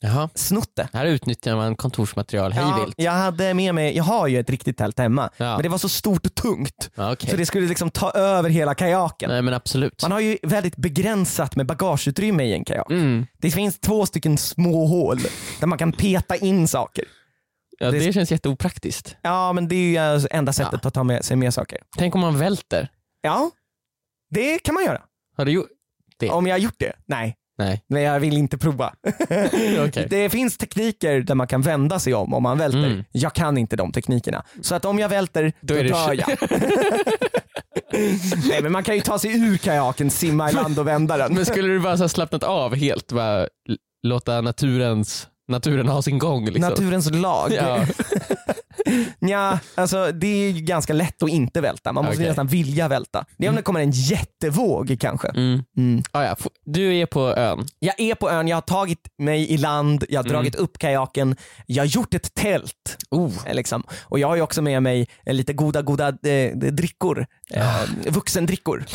Jaha. Snott det. Här utnyttjar man kontorsmaterial hej Ja, vilt. jag, hade med mig, jag har ju ett riktigt tält hemma, Ja. men det var så stort och tungt Ja, okej. så det skulle liksom ta över hela kajaken. Nej men absolut. Man har ju väldigt begränsat med bagageutrymme i en kajak. Mm. Det finns två stycken små hål där man kan peta in saker. Ja, det... Det- känns jätteopraktiskt. Ja men det är ju alltså enda sättet att ta med sig mer saker. Tänk om man välter. Ja, det kan man göra. Har du gjort? Ja. Om jag har gjort det? Nej, Nej. men jag vill inte prova. Okej. Det finns tekniker där man kan vända sig om om man välter. Mm. Jag kan inte de teknikerna. Så att om jag välter, då, Då är det dör kört. jag. Nej men man kan ju ta sig ur kajaken, simma i land och vända den. Men skulle du bara så här slappnat av helt? Bara l- låta naturens Naturen har sin gång. Liksom. Naturens lag. Ja. Nja, alltså det är ju ganska lätt att inte välta. Man måste Okej. nästan vilja välta. Det är om det kommer en jättevåg kanske. Mm. Mm. Ah, ja. F- Du är på ön. Jag är på ön, jag har tagit mig i land, jag har Mm. dragit upp kajaken, jag har gjort ett tält. Oh. eh, Liksom. Och jag har ju också med mig eh, lite goda, goda eh, drickor. Ah. Eh, vuxendrickor.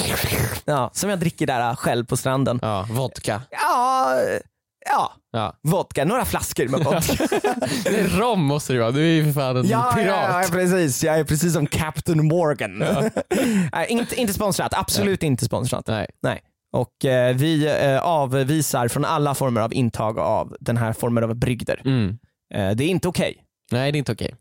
Ja, som jag dricker där eh, själv på stranden. Ja, vodka. Ja, eh, ja, Ja. vodka. Några flaskor med vodka. Det är rom måste du vara. Du är ju för fan en ja, ja, pirat. ja, precis. Jag är precis som Captain Morgan. Nej, inte, inte sponsrat. Absolut inte sponsrat. Nej. Nej. Och eh, vi eh, avvisar från alla former av intag av den här formen av brygder. Mm. Eh, det är inte okej. Nej, det är inte okej.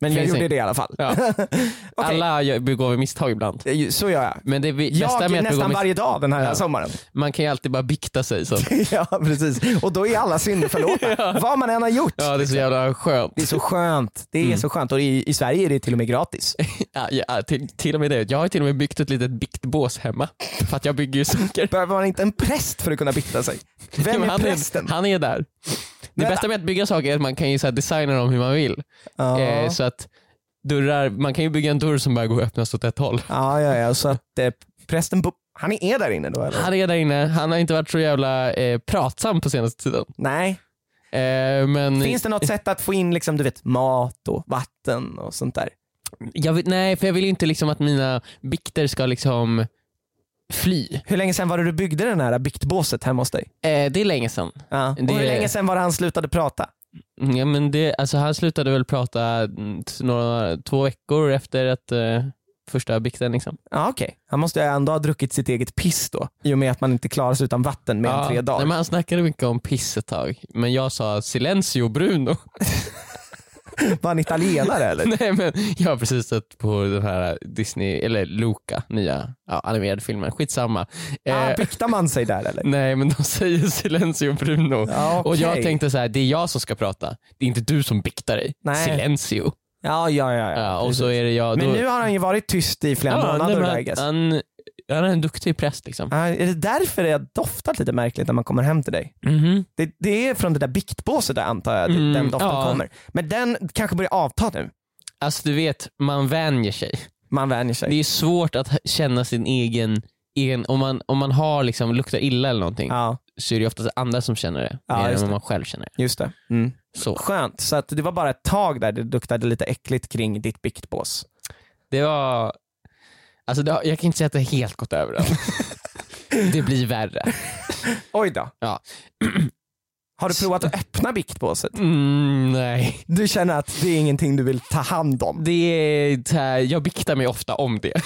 Men jag Finns gjorde inget. det i alla fall. Ja. Okej. Alla gör- begår vi misstag ibland. Eh, Så gör jag. Men det vi, bästa Jag med att begå nästan mis- varje dag den här Ja. sommaren. man kan ju alltid bara bikta sig. Så. ja, precis. Och då är alla synder förlåtna. Vad man än har gjort. Ja, Mm. det är så jävla skönt. Det är så skönt. Det är så skönt. Och i, i Sverige är det till och med gratis. Ja, ja, till, till och med det. Jag har ju till och med byggt ett litet biktbås hemma. För att jag bygger ju saker. Behöver man inte en präst för att kunna bikta sig? Vem är han, prästen? är, han är där. Det Vänta. bästa med att bygga saker är att man kan ju så här designa dem hur man vill. Ja. Eh, så att dörrar, man kan ju bygga en dörr som bara går att öppnas åt ett håll. Ja, ja, ja. Så att eh, prästen, bo- han är där inne då eller? Han är där inne, han har inte varit så jävla eh, pratsam på senaste tiden. Nej. Eh, men Finns det något sätt att få in liksom, du vet, mat och vatten och sånt där? jag vill, nej, för jag vill ju inte liksom att mina bikter ska liksom fly. Hur länge sedan var det du byggde den här biktbåset hemma hos dig? Eh, det är länge sedan. Ja. Och Det- hur länge sedan var det han slutade prata? Ja, men det, alltså, han slutade väl prata mm, t- några, två veckor efter att eh, första bikten. Liksom. Ja, okej. Han måste ju ändå ha druckit sitt eget piss då, i och med att man inte klarar sig utan vatten mer än Ja, tre dagar. Nej, men han snackade mycket om piss ett tag, men jag sa silencio Bruno. Var han italienare eller? nej, men jag har precis sett på den här Disney, eller Luca, nya ja, animerade filmen. Skitsamma. Eh, Ah, biktar man sig där eller? nej, men de säger silencio Bruno. Ja, Och jag okej. tänkte så här, det är jag som ska prata. Det är inte du som biktar dig. Nej. Silencio. Ja, ja, ja. ja. Ja, och så är det jag. Men då- nu har han ju varit tyst i flera Ja, nej, månader men då, I guess. han, han, han är en duktig präst liksom. Ah, är det därför jag doftar lite märkligt när man kommer hem till dig? Mhm. Det, det är från det där biktbåset där antar jag, Mm, den doften ja. kommer. Men den kanske börjar avta nu. Alltså du vet, man vänjer sig. Man vänjer sig. Det är svårt att känna sin egen, egen om, man, om man har liksom, luktar illa eller någonting Ja, så så är det oftast andra som känner det, Ja, mer just än vad det. man själv känner det. just det. Mm. Så. Skönt, så att det var bara ett tag där det luktade lite äckligt kring ditt biktbås. Det var... Alltså det har, jag kan inte säga att det har helt gått över än. det blir värre. Oj då. Ja. Har du provat att öppna biktbåset? Mm, nej. Du känner att det är ingenting du vill ta hand om? Det är, så här, jag biktar mig ofta om det.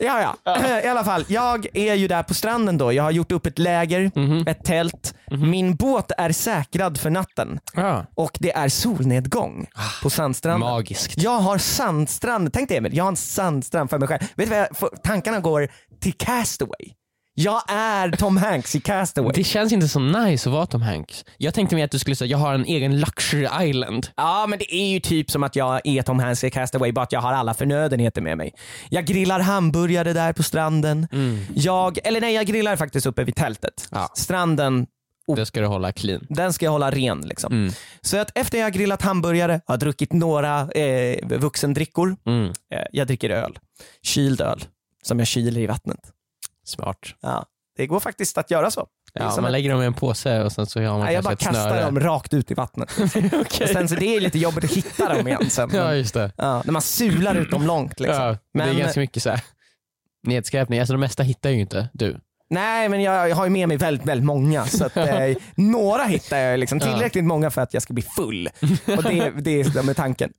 Ja, ja. I alla fall, jag är ju där på stranden då. Jag har gjort upp ett läger, ett tält. Min båt är säkrad för natten Ja. och det är solnedgång på sandstranden. Magiskt. Jag har sandstrand, tänk dig Emil, jag har en sandstrand för mig själv. Vet du vad jag, för, tankarna går till Castaway. Jag är Tom Hanks i Castaway. Det känns inte så nice att vara Tom Hanks. Jag tänkte mig att du skulle säga jag har en egen luxury island. Ja men det är ju typ som att jag är Tom Hanks i Castaway bara att jag har alla förnödenheter med mig. Jag grillar hamburgare där på stranden. Jag, eller nej jag grillar faktiskt uppe vid tältet. Mm. Ja. Stranden, Det ska du hålla clean. den ska jag hålla ren liksom. Mm. Så att efter jag har grillat hamburgare, har druckit några eh, vuxendrickor. Mm. Eh, jag dricker öl. Kyld öl som jag kyler i vattnet. Smart. Ja. Det går faktiskt att göra så. Det är Ja, som man att- lägger dem i en påse och sen så har man Nej, jag bara kanske ett kastar snöre. dem rakt ut i vattnet. Okej. Och sen, så det är lite jobbigt att hitta dem igen sen. Ja just det. Ja, när man sular ut dem långt. Liksom. Ja, Det Men- är ganska mycket så här. nedskräpning. Alltså de mesta hittar ju inte du. Nej, men jag har ju med mig väldigt, väldigt många. Så att, eh, några hittar jag, liksom, tillräckligt många för att jag ska bli full. Och det, det är det med tanken.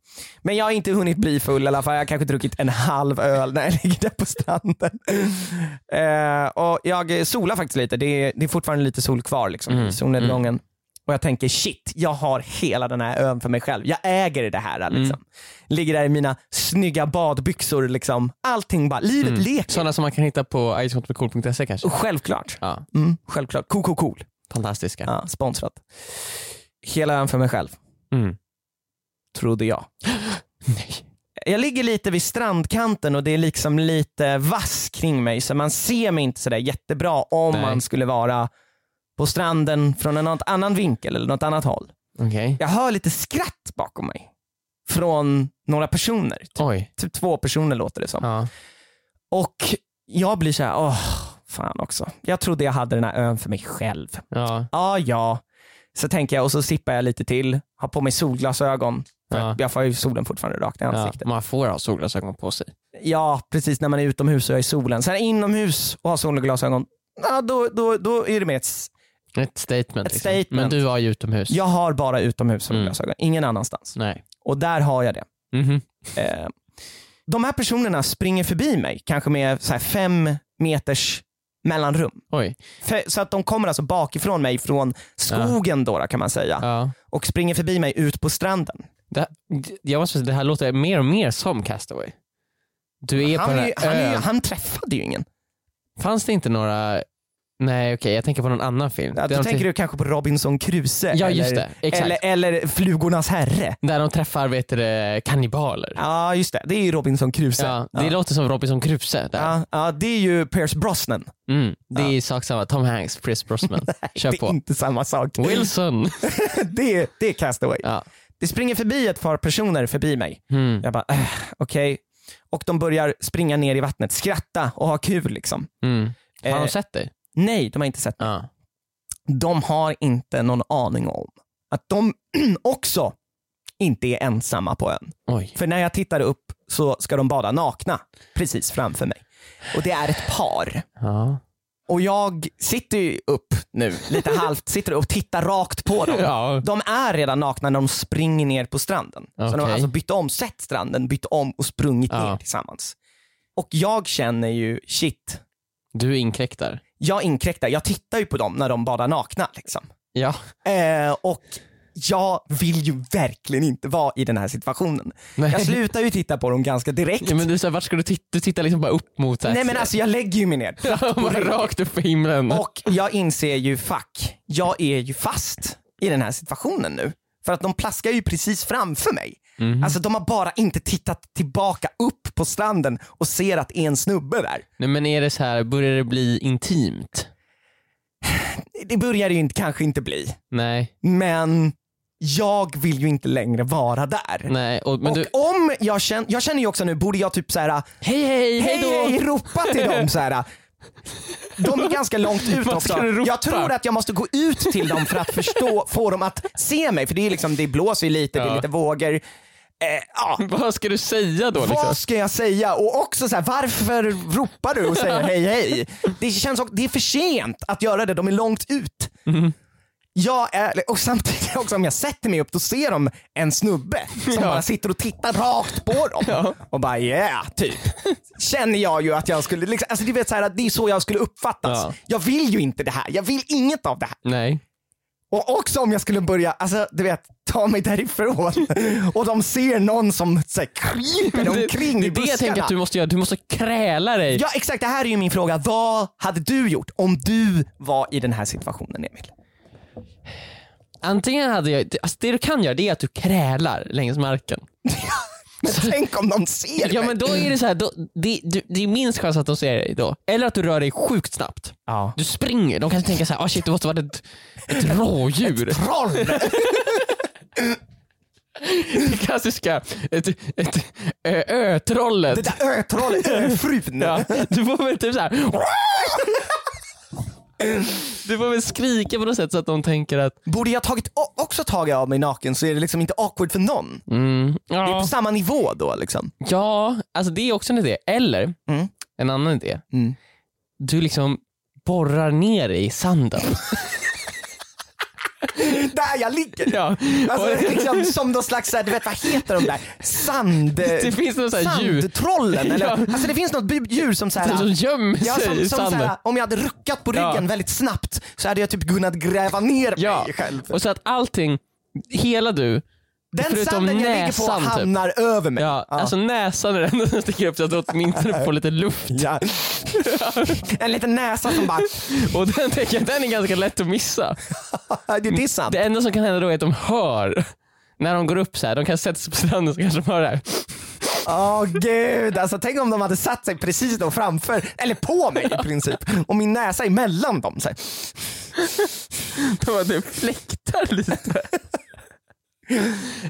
Men jag har inte hunnit bli full i alla fall. Jag har kanske druckit en halv öl när jag ligger där på stranden. Eh, och jag solar faktiskt lite. Det är, det är fortfarande lite sol kvar liksom, i solnedgången. Och jag tänker shit, jag har hela den här ön för mig själv. Jag äger det här. Liksom. Ligger där i mina snygga badbyxor. Liksom. Allting bara, livet leker. Sådana som man kan hitta på icehotelcool.se kanske. Självklart. Ja, Mm, självklart. Cool, cool, cool. fantastiska. Ja, sponsrat. hela ön för mig själv, Mm. trodde jag. Nej. Jag ligger lite vid strandkanten och det är liksom lite vass kring mig så man ser mig inte sådär jättebra om Nej. man skulle vara på stranden från en något annan vinkel eller något annat håll. Okej. Jag hör lite skratt bakom mig från några personer. Typ, Oj. typ två personer låter det som. Ja. Och jag blir så här, åh, fan också. Jag trodde jag hade den här ön för mig själv. Ja. Ja, ja. Så tänker jag och så sippar jag lite till, har på mig solglasögon. För Ja. att Jag får ju solen fortfarande rakt i ja. ansiktet. Ja. Man får ha solglasögon på sig. precis när man är utomhus och är i solen. Sen inomhus och har solglasögon, ja, då, då, då är det mer ett... s- Ett statement. liksom. Ett statement. Men du var ju utomhus. Jag har bara utomhus Mm. solglasögon, ingen annanstans. Nej. Och där har jag det. Mhm. Eh, de här personerna springer förbi mig, kanske med så här fem meters mellanrum. Oj. Fe- så att de kommer alltså bakifrån mig, från skogen då, då kan man säga, Ja. och springer förbi mig ut på stranden. Det, det- jag måste säga, det här låter mer och mer som Castaway. Du är Han, på är den ju, här han, är ju, ön. han träffade ju ingen. Fanns det inte några... Nej okej, jag tänker på någon annan film. Ja, Där de då tänker tr- du kanske på Robinson Crusoe Ja eller, just det, exakt. eller, eller Flugornas herre. Där de träffar vet du, det, kannibaler. Ja just det, det är ju Robinson Crusoe. Ja, det låter som Robinson Crusoe. Där. ja, ja, det är ju Pierce Brosnan. Mm, det är sak samma. Tom Hanks, Chris Brosnan. Kör det är på. inte samma sak. Wilson. det, är- det är Castaway. Ja. Det springer förbi ett par personer förbi mig. Mm, Jag bara, äh, okej. Och de börjar springa ner i vattnet, skratta och ha kul liksom. mm. Har Eh, de sett dig? Nej, de har inte sett mig. Ja. De har inte någon aning om att de också inte är ensamma på ön. Oj. För när jag tittar upp så ska de bada nakna precis framför mig. Och det är ett par. Ja. Och jag sitter ju upp nu, lite halvt, sitter och tittar rakt på dem. Ja. De är redan nakna när de springer ner på stranden. Så de har Okej. alltså bytt om, sett stranden, bytt om och sprungit Ja. ner tillsammans. Och jag känner ju, shit, Du inkräktar. jag inkräktar. Jag tittar ju på dem när de badar nakna. Liksom. Ja. Eh, och jag vill ju verkligen inte vara i den här situationen. Nej. Jag slutar ju titta på dem ganska direkt. ja men du, så här, vart ska du titta? Du tittar liksom bara upp mot... Så här, Nej men alltså jag lägger ju mig ner. bara rakt upp i himlen. Och jag inser ju, fuck, jag är ju fast i den här situationen nu. För att de plaskar ju precis framför mig. Mhm. Alltså de har bara inte tittat tillbaka upp på stranden och ser att det är en snubbe där. Nej, men är det så här, börjar det bli intimt? Det börjar det ju inte, kanske inte bli, Nej. men jag vill ju inte längre vara där. Nej. Och, men och du, om jag känner, jag känner ju också nu, borde jag typ såhär, hej hej, hej hej då! hej, ropa till dem såhär. De är ganska långt ut Vad också. ska du ropa? Jag tror att jag måste gå ut till dem för att förstå, få dem att se mig. För det är liksom, det blåser ju lite, det är Ja. lite vågor. Eh, ja. Vad ska du säga då? Liksom? Vad ska jag säga? Och också så här, varför ropar du och säger hej hej? Det känns också, det är för sent att göra det, de är långt ut. Mm. Jag är, och samtidigt också om jag sätter mig upp, då ser de en snubbe som Ja. bara sitter och tittar rakt på dem. Och bara yeah, typ. Känner jag ju att jag skulle, liksom, alltså du vet så här, att det är så jag skulle uppfattas. Ja. Jag vill ju inte det här, jag vill inget av det här. Nej. Och också om jag skulle börja, alltså du vet, ta mig därifrån och de ser någon som så här, kryper omkring det i är det buskarna. jag tänker att du måste göra. Du måste kräla dig. Ja exakt, det här är ju min fråga. Vad hade du gjort om du var i den här situationen Emil? Antingen hade jag, alltså det du kan göra det är att du krälar längs marken. Men tänk om de ser Ja mig? men då är det Mm. så här, då, det, du, det är minst chans att de ser dig då. Eller att du rör dig sjukt snabbt. Ja. Du springer, de kanske tänker så här, ah shit det måste vara ett, ett rådjur. Troll! Det klassiska, ett, ett ö, ötrollet. Det där ötrollet, öfrun. Ja, du får väl typ så här. Du får väl skrika på något sätt så att de tänker att, Borde jag tagit o- också tagit av mig naken så är det liksom inte awkward för någon. mm, Det är på ja. samma nivå då liksom. ja, alltså det är också en idé. Eller, Mm. en annan idé. Mm. Du liksom borrar ner dig i sanden. Där jag ligger! Ja. Alltså och, liksom som någon slags, så här, du vet vad heter de där? Sand... det finns någon sån här djur Sandtrollen eller? Ja. Alltså det finns något by- djur som såhär som gömmer sig Ja, som, i som sanden. såhär, om jag hade ruckat på ryggen Ja. väldigt snabbt så hade jag typ kunnat gräva ner Ja. mig själv. Och så att allting, hela du Den Förutom sanden jag ligger på näsan, typ. hamnar över mig. Ja, Alltså näsan är den som sticker upp så att du åtminstone får lite luft. Ja. en liten näsa som bara, Och den tänker jag, den är ganska lätt att missa. det är sant. Det enda som kan hända då är att de hör när de går upp så här. De kan sätta sig på stranden så kanske de hör det här. Åh gud, alltså tänk om de hade satt sig precis då framför, eller på mig i princip, och min näsa emellan dem. Så här. De bara, det fläktar lite.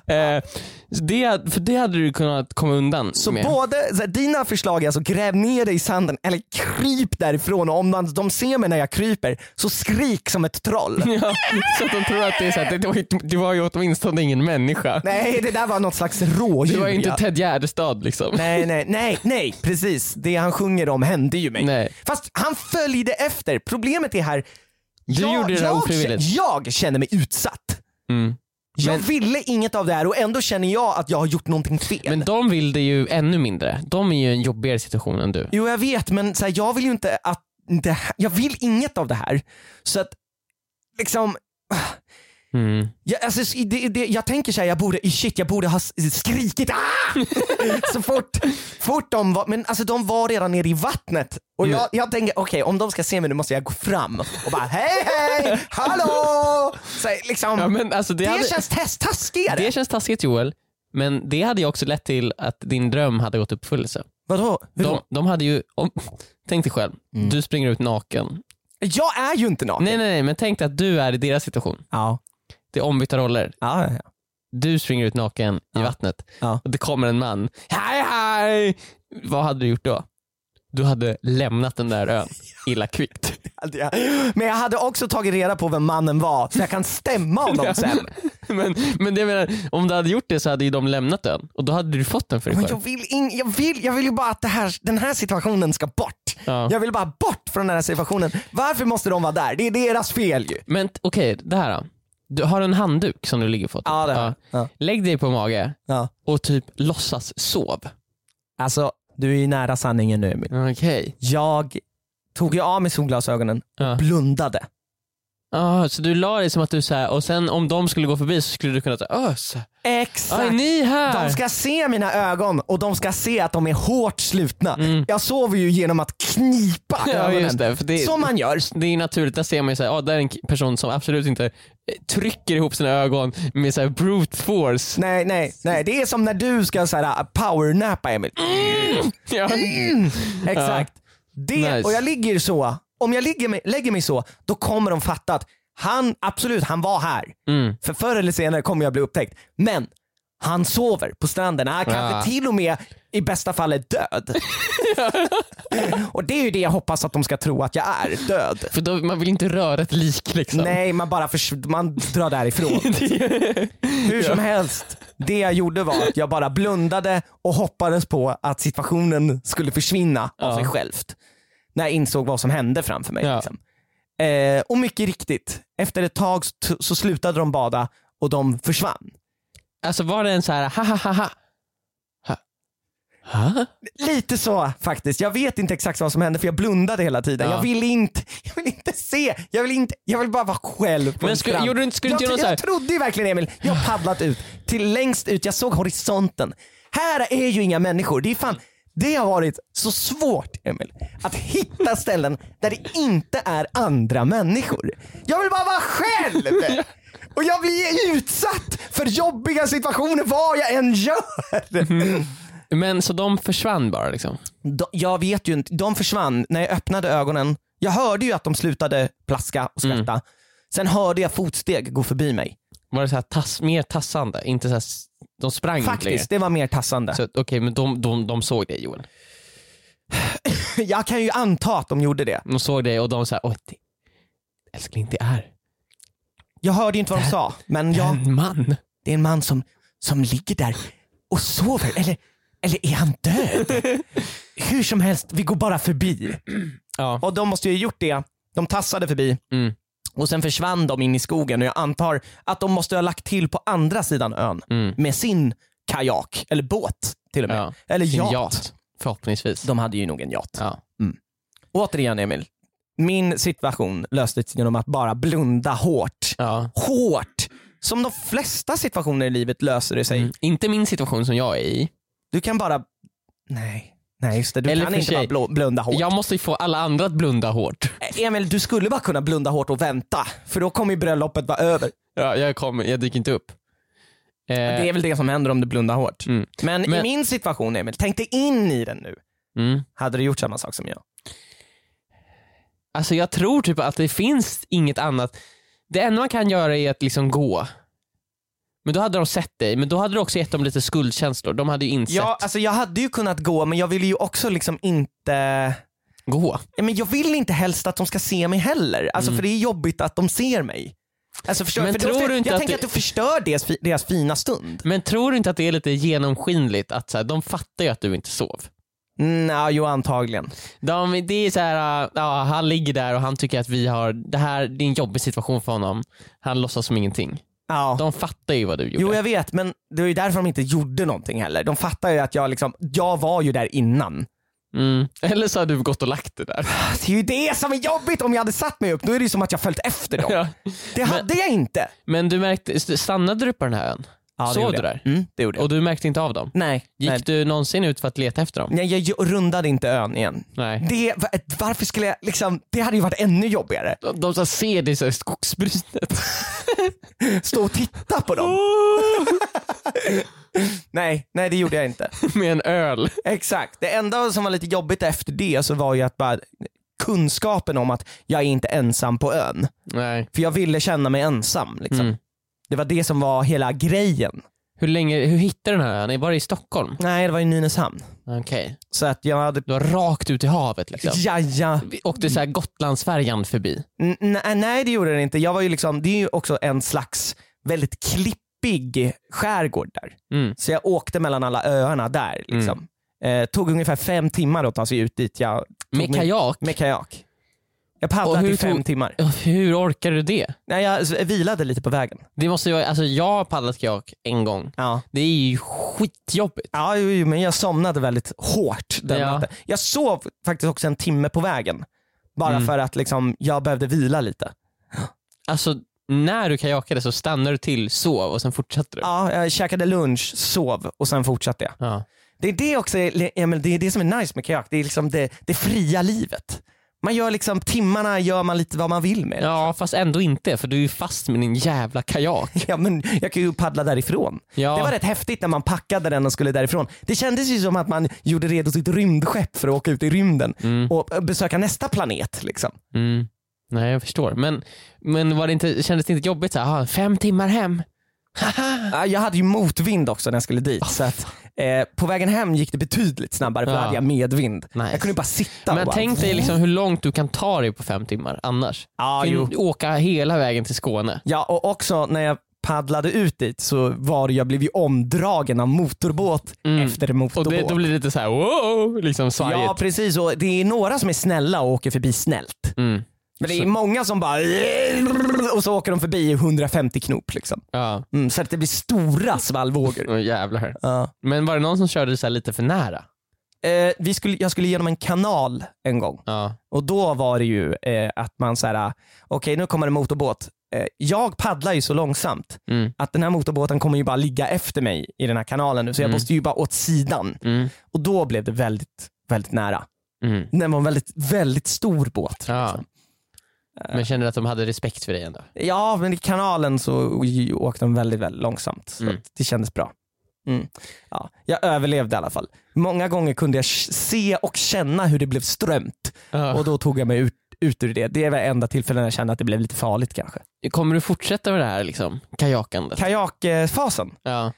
eh, så det, för det hade du kunnat komma undan Så med. både, så här, dina förslag är alltså gräv ner dig i sanden eller kryp därifrån och om de, de ser mig när jag kryper så skrik som ett troll. Ja, så att de tror att det är så här, det, var ju, det var ju åtminstone ingen människa. Nej, det där var något slags rådjur. det var ju inte ja. Ted Gärdestad liksom. Nej, nej, nej, nej, precis. Det han sjunger om hände ju mig. Nej. Fast han följde efter. Problemet är här, Du jag, gjorde det där jag, ofrivilligt. jag känner mig utsatt. Mm. Jag Men- ville inget av det här och ändå känner jag att jag har gjort någonting fel. Men de vill det ju ännu mindre. De är ju i en jobbigare situation än du. Jo jag vet men så här, jag vill ju inte att det här, jag vill inget av det här. Så att liksom, Mm. jag, alltså, s- det, det, jag tänker såhär, jag borde, shit jag borde ha s- skrikit ah! så fort, fort de var, men alltså de var redan nere i vattnet. Och Mm. jag, jag tänker okej om de ska se mig nu måste jag gå fram och bara hej hej, hallå! Så här, liksom, Ja, men alltså, det, det hade, känns test- taskigare. det känns taskigt Joel, men det hade ju också lett till att din dröm hade gått i uppfyllelse. Vadå? Hur De, då? de hade ju, om, tänk dig själv, Mm. du springer ut naken. Jag är ju inte naken. Nej, nej, nej, men tänk dig att du är i deras situation. Ja. Det är ombytta roller. Ja, ja, ja. Du springer ut naken i Ja. vattnet Ja. och det kommer en man. Hej, hej! Vad hade du gjort då? Du hade lämnat den där ön illa kvickt. Hade jag- Men jag hade också tagit reda på vem mannen var så jag kan stämma honom sen. Men, men det jag menar, om du hade gjort det så hade ju de lämnat den och då hade du fått den för dig Men själv. jag vill, in, jag vill, jag vill ju bara att det här, den här situationen ska bort. Ja. Jag vill bara bort från den här situationen. Varför måste de vara där? Det är deras fel ju. Men t- okej, det här då. Du har en handduk som du ligger på. typ. Ja, det har jag. Ja. Lägg dig på mage Ja. och typ låtsas sov. Alltså, du är ju nära sanningen nu Emil. Okej. Jag tog ju av mig solglasögonen, Ja. blundade. Ah, så du la dig som att du så här, och sen om de skulle gå förbi så skulle du kunna säga ös. Exakt. Aj, ni här! De ska se mina ögon och de ska se att de är hårt slutna. Mm. Jag sover ju genom att knipa Ja ögonen. just det, för det, Som man gör. det är naturligt, där ser man ju såhär, ah, där är en k- person som absolut inte eh, trycker ihop sina ögon med såhär brute force. Nej, nej, nej. Det är som när du ska så här, uh, powernappa Emil. Ja. Exakt. Det, Mm. Nice. Och jag ligger så, om jag ligger mig, lägger mig så, då kommer de fatta att han, absolut, han var här. Mm. För förr eller senare kommer jag bli upptäckt. Men han sover på stranden. Han kanske Ja. till och med i bästa fall är död. och det är ju det jag hoppas att de ska tro att jag är, död. För då, man vill inte röra ett lik liksom. Nej, man bara förs- man drar därifrån. Hur som helst, det jag gjorde var att jag bara blundade och hoppades på att situationen skulle försvinna av Ja. sig självt. När jag insåg vad som hände framför mig. Ja. Liksom. Eh, och mycket riktigt, efter ett tag så, t- så slutade de bada och de försvann. Alltså var det en såhär, ha ha ha ha. Ha? ha? Lite så faktiskt. Jag vet inte exakt vad som hände för jag blundade hela tiden. Ja. Jag, vill inte, jag vill inte se. Jag vill, inte, jag vill bara vara själv på Men en skulle- strand. gjorde du inte- skulle du inte jag, göra jag, någon så trodde ju verkligen Emil, jag har paddlat ut till längst ut. Jag såg horisonten. Här är ju inga människor. Det är fan det har varit så svårt Emil, att hitta ställen där det inte är andra människor. Jag vill bara vara själv! Och jag blir utsatt för jobbiga situationer vad jag än gör. Mhm. Men så de försvann bara liksom? de, jag vet ju inte, de försvann när jag öppnade ögonen. Jag hörde ju att de slutade plaska och skratta. Sen hörde jag fotsteg gå förbi mig. Var det så här tass, mer tassande? Inte så här, s- de sprang inte längre? Faktiskt, det var mer tassande. Så att, Okej, men de, de, de såg dig Joel. Jag kan ju anta att de gjorde det. De såg dig och de sa, åh det, älskling det är Jag hörde ju inte vad de sa, men ja, en man. det är en man som, som ligger där och sover. Eller, eller är han död? Hur som helst, vi går bara förbi. Ja. Och de måste ju ha gjort det. De tassade förbi Mm. och sen försvann de in i skogen och jag antar att de måste ha lagt till på andra sidan ön. Mm. med sin kajak, eller båt till och med. ja. Eller Sin yacht. yacht, Förhoppningsvis. De hade ju nog en yacht. Ja. Återigen Emil, min situation löstes genom att bara blunda hårt. Ja. Hårt! Som de flesta situationer i livet löser det sig. Mm. Inte min situation som jag är i. Du kan bara... Nej, nej just det. Du Eller kan för inte sig- bara blo- blunda hårt. Jag måste ju få alla andra att blunda hårt. Emil, du skulle bara kunna blunda hårt och vänta. För då kommer ju bröllopet vara över. Ja, jag, kommer, jag dyker inte upp. Eh, Det är väl det som händer om du blundar hårt. Mm. Men, i Men- min situation Emil, tänk dig in i den nu. mm. Hade du gjort samma sak som jag? Alltså jag tror typ att det finns inget annat. Det enda man kan göra är att liksom gå. Men då hade de sett dig, men då hade du också gett dem lite skuldkänslor. De hade ju insett. Ja, alltså jag hade ju kunnat gå men jag ville ju också liksom inte Gå. Ja, men jag vill inte helst att de ska se mig heller, alltså, för det är jobbigt att de ser mig. Alltså, förstår, Men för då, tror för, du inte jag att tänker det- att du förstör deras, fi- deras fina stund. Men tror du inte att det är lite genomskinligt att så här, de fattar ju att du inte sov? Mm, ja, jo antagligen. De, det är så här, äh, ja, han ligger där och han tycker att vi har, det här det är en jobbig situation för honom. Han låtsas som ingenting. Ja. De fattar ju vad du gjorde. Jo jag vet, men det var ju därför de inte gjorde någonting heller. De fattar ju att jag liksom, jag var ju där innan. mm. Eller så har du gått och lagt det där. Det är ju det som är jobbigt, om jag hade satt mig upp, då är det ju som att jag följt efter dem. Ja. Det hade jag inte. Men du märkte, st- stannade du på den här ön? det Sov gjorde du jag. där? Mm, det gjorde jag. Och du märkte inte av dem? Nej, Gick nej. du någonsin ut för att leta efter dem? nej, jag ju- rundade inte ön igen. Nej. Det, varför skulle jag, liksom, det hade ju varit ännu jobbigare. De, de så här ser dig så här i skogsbrynet. Stå och titta på dem. Nej, nej det gjorde jag inte. Med en öl. Exakt. Det enda som var lite jobbigt efter det så var ju att bara kunskapen om att jag är inte ensam på ön. Nej. För jag ville känna mig ensam. Liksom. Mm. Det var det som var hela grejen. Hur länge, hur hittade du den här ön? Är det Bara i Stockholm? Nej, det var i Nynäshamn. Okej. Så att jag hade... Du var rakt ut i havet liksom? Ja. Ja, Vi åkte så här Gotlandsfärjan förbi. N- nej, nej, det gjorde den inte. Jag var ju liksom, det är ju också en slags väldigt klippig skärgård där. Mm. Så jag åkte mellan alla öarna där. Liksom. Eh, tog ungefär fem timmar att ta sig ut dit. Jag tog Med mig- kajak? Med kajak. Jag Och paddlade hur i fem tog- timmar. Ja, Hur orkar du det? Nej, jag s- vilade lite på vägen. det måste ju, vara- alltså jag har paddlat kajak en gång. Ja. Det är ju skitjobbigt. Ja, jo, jo, men jag somnade väldigt hårt den Ja. natten. Jag sov faktiskt också en timme på vägen. Bara Mm. för att liksom, jag behövde vila lite. Alltså när du kajakade så stannade du till, sov och sen fortsatte du. Ja, jag käkade lunch, sov och sen fortsatte jag. Ja. Det är det också Emil, det är det som är nice med kajak. Det är liksom det, det fria livet. Man gör liksom, timmarna gör man lite vad man vill med. Ja. ja fast ändå inte för du är ju fast med din jävla kajak. men jag kan ju paddla därifrån. Ja. Det var rätt häftigt när man packade den och skulle därifrån. Det kändes ju som att man gjorde redo sitt rymdskepp för att åka ut i rymden Mm. och eh, besöka nästa planet. Liksom. Mm. Nej jag förstår. Men, men var det inte, kändes det inte jobbigt så här, "Ah, fem timmar hem? Haha. Ja, Ah, Jag hade ju motvind också när jag skulle dit. så att, eh, på vägen hem gick det betydligt snabbare för då Ja. hade jag medvind. Nice. Jag kunde bara sitta och Men bara, tänk dig liksom hur långt du kan ta dig på fem timmar annars. Ja, Fin- jo. åka hela vägen till Skåne. Ja, och också när jag paddlade ut dit så var det, jag blev ju omdragen av motorbåt Mm. efter Och motorbåt. det, då blir det lite så här, wow, liksom svajigt. ja precis, och det är några som är snälla och åker förbi snällt. Mm. Men det är Så- många som bara och så åker de förbi i 150 knop liksom. Ja, Mm, så att det blir stora svallvågor. oh, jävlar. Ja. Men var det någon som körde så här lite för nära? Eh, vi skulle, jag skulle genom en kanal en gång Ja. och då var det ju eh, att man såhär, okej nu kommer en motorbåt. Eh, jag paddlar ju så långsamt Mm. att den här motorbåten kommer ju bara ligga efter mig i den här kanalen nu så jag Mm. måste ju bara åt sidan. Mm. Och då blev det väldigt, väldigt nära. Mm. Den var en väldigt, väldigt stor båt. Ja. liksom. Eh. Men kände du att de hade respekt för dig ändå? ja, men i kanalen så åkte den väldigt, väldigt långsamt. Så Mm. att det kändes bra. Mm. Ja, jag överlevde i alla fall. Många gånger kunde jag k- se och känna hur det blev strömt Ja. och då tog jag mig ut, ut ur det. Det var enda tillfället när jag kände att det blev lite farligt kanske. Kommer du fortsätta med det här liksom, kajakandet? Kajakfasen. Ja.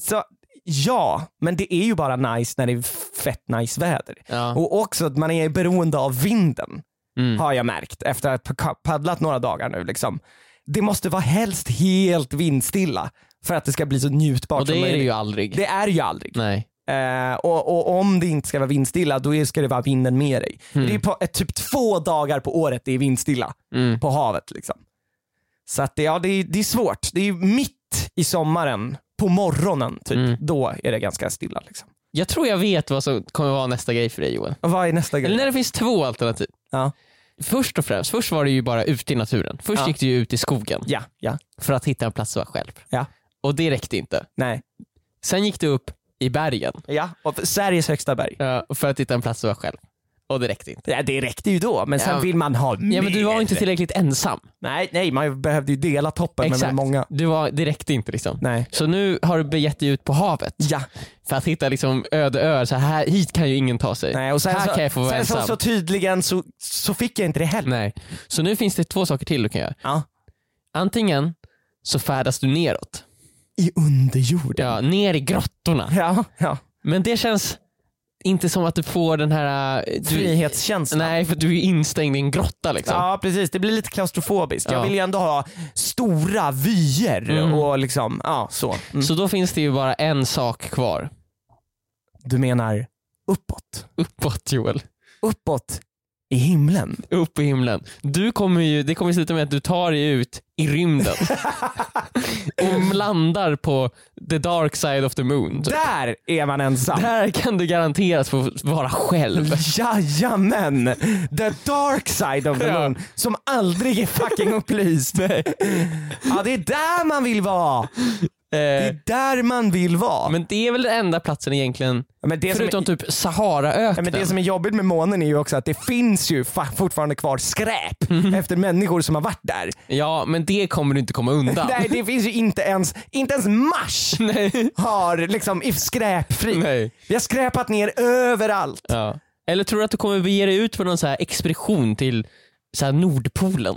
Så, ja, men det är ju bara nice när det är fett nice väder. Ja. Och också att man är beroende av vinden Mm. har jag märkt efter att ha paddlat några dagar nu. Liksom. Det måste vara helst helt vindstilla för att det ska bli så njutbart Och det som är det möjligt. ju aldrig. Det är ju aldrig. Nej. Eh, och, och om det inte ska vara vindstilla då är- ska det vara vinden med dig. Mm. Det är på, eh, typ två dagar på året det är vindstilla Mm. på havet. Liksom. Så att det, ja, det, är, det är svårt. Det är ju mitt i sommaren, på morgonen, typ. Mm. då är det ganska stilla. Liksom. Jag tror jag vet vad som kommer vara nästa grej för dig Johan. Och vad är nästa grej? Eller när det finns två alternativ. Ja. först och främst, först var det ju bara ute i naturen. Först Ja. gick du ju ut i skogen Ja, ja, för att hitta en plats att vara själv. Ja. Och det räckte inte. nej. Sen gick du upp i bergen Ja, och för- Sveriges högsta berg. eh, för att hitta en plats att vara själv. Och det räckte inte. Ja, det räckte ju då, men sen Ja. vill man ha mer. Ja, men du var inte tillräckligt ensam. Nej, nej, man behövde ju dela toppen Exakt. med många. Du var, det räckte inte liksom. Nej. Så nu har du begett dig ut på havet Ja, för att hitta liksom öde öar. Så här, hit kan ju ingen ta sig. nej, och sen här så, kan jag få vara sen så, ensam. Mm. så tydligen så, så fick jag inte det heller. Nej. Så nu finns det två saker till du kan göra. Ja. Antingen så färdas du neråt. I underjorden. Ja, ner i grottorna. Ja, ja. Men det känns inte som att du får den här... eh, Du, Frihetskänslan. nej, för du är instängd i en grotta liksom. Ja precis, det blir lite klaustrofobiskt. Ja. Jag vill ju ändå ha stora vyer Mm. och liksom, ja så. Mm. Så då finns det ju bara en sak kvar. Du menar uppåt? Uppåt Joel. Uppåt i himlen? Upp i himlen. Du kommer ju, det kommer sluta med att du tar dig ut i rymden. och landar på the dark side of the moon. typ. Där är man ensam! Där kan du garanterat få vara själv. Jajamän! The dark side of the Ja. moon som aldrig är fucking upplyst. ja, det är där man vill vara. Det Eh, är där man vill vara. men det är väl den enda platsen egentligen, Ja, men det som förutom är- typ Saharaöknen. Ja, men det som är jobbigt med månen är ju också att det finns ju fa- fortfarande kvar skräp Mm. efter människor som har varit där. Ja, men det kommer du inte komma undan. Nej det finns ju inte ens, inte ens Mars Nej. har liksom i- skräpfri. Nej. Vi har skräpat ner överallt. Ja. Eller tror du att du kommer bege dig ut på någon så här expedition till så här Nordpolen?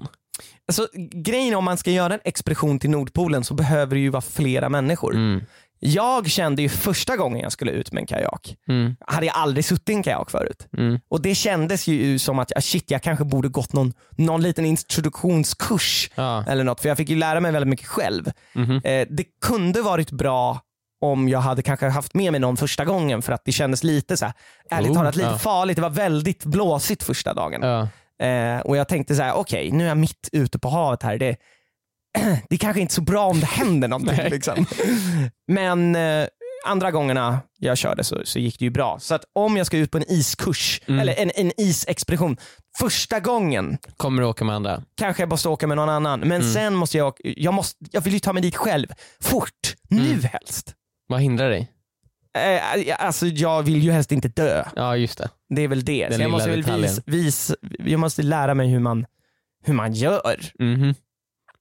Alltså, grejen är, om man ska göra en expedition till Nordpolen så behöver det ju vara flera människor. Mm. Jag kände ju första gången jag skulle ut med en kajak, Mm. hade jag aldrig suttit i en kajak förut. Mm. Och det kändes ju som att ah, shit, jag kanske borde gått någon, någon liten introduktionskurs Ja. eller något, för jag fick ju lära mig väldigt mycket själv. Mhm. Eh, det kunde varit bra om jag hade kanske haft med mig någon första gången för att det kändes lite så här, ärligt Oh, talat lite ja. farligt. Det var väldigt blåsigt första dagen. Ja. Eh, och jag tänkte så här: okej nu är jag mitt ute på havet här. Det, det kanske inte är så bra om det händer någonting. Nej. liksom. Men eh, andra gångerna jag körde så, så gick det ju bra. Så att om jag ska ut på en iskurs, Mm. eller en, en isexpedition, första gången Kommer du åka med andra? kanske jag måste åka med någon annan. Men Mm. sen måste jag, jag, måste, jag vill ju ta mig dit själv. Fort. Nu Mm. helst. Vad hindrar dig? Eh, alltså jag vill ju helst inte dö. Ja, just det. Det är väl Den det. Så jag, lilla måste väl vis, detaljen. vis, jag måste lära mig hur man, hur man gör. Mhm.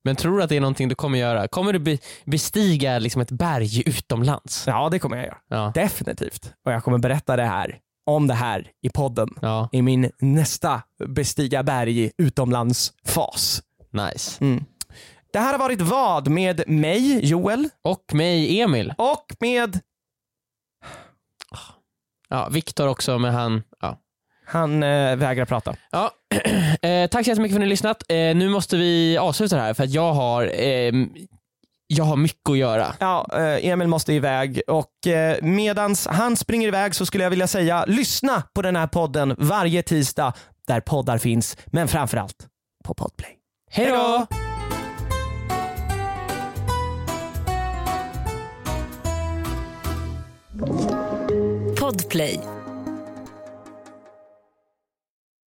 Men tror du att det är någonting du kommer göra? Kommer du be- bestiga liksom ett berg utomlands? Ja, det kommer jag göra. Ja. Definitivt. Och jag kommer berätta det här, om det här i podden ja. i min nästa bestiga berg utomlands-fas. Nice. Det här har varit vad med mig, Joel, Och mig, Emil. och med Ja, Viktor också, men han... Ja. han eh, vägrar prata. Ja, eh, tack så jättemycket för att ni har lyssnat. Eh, nu måste vi avsluta det här för att jag har, ehm, jag har mycket att göra. Ja, eh, Emil måste iväg och eh, medans han springer iväg så skulle jag vilja säga lyssna på den här podden varje tisdag där poddar finns, men framförallt på Podplay. Hej då! Podplay.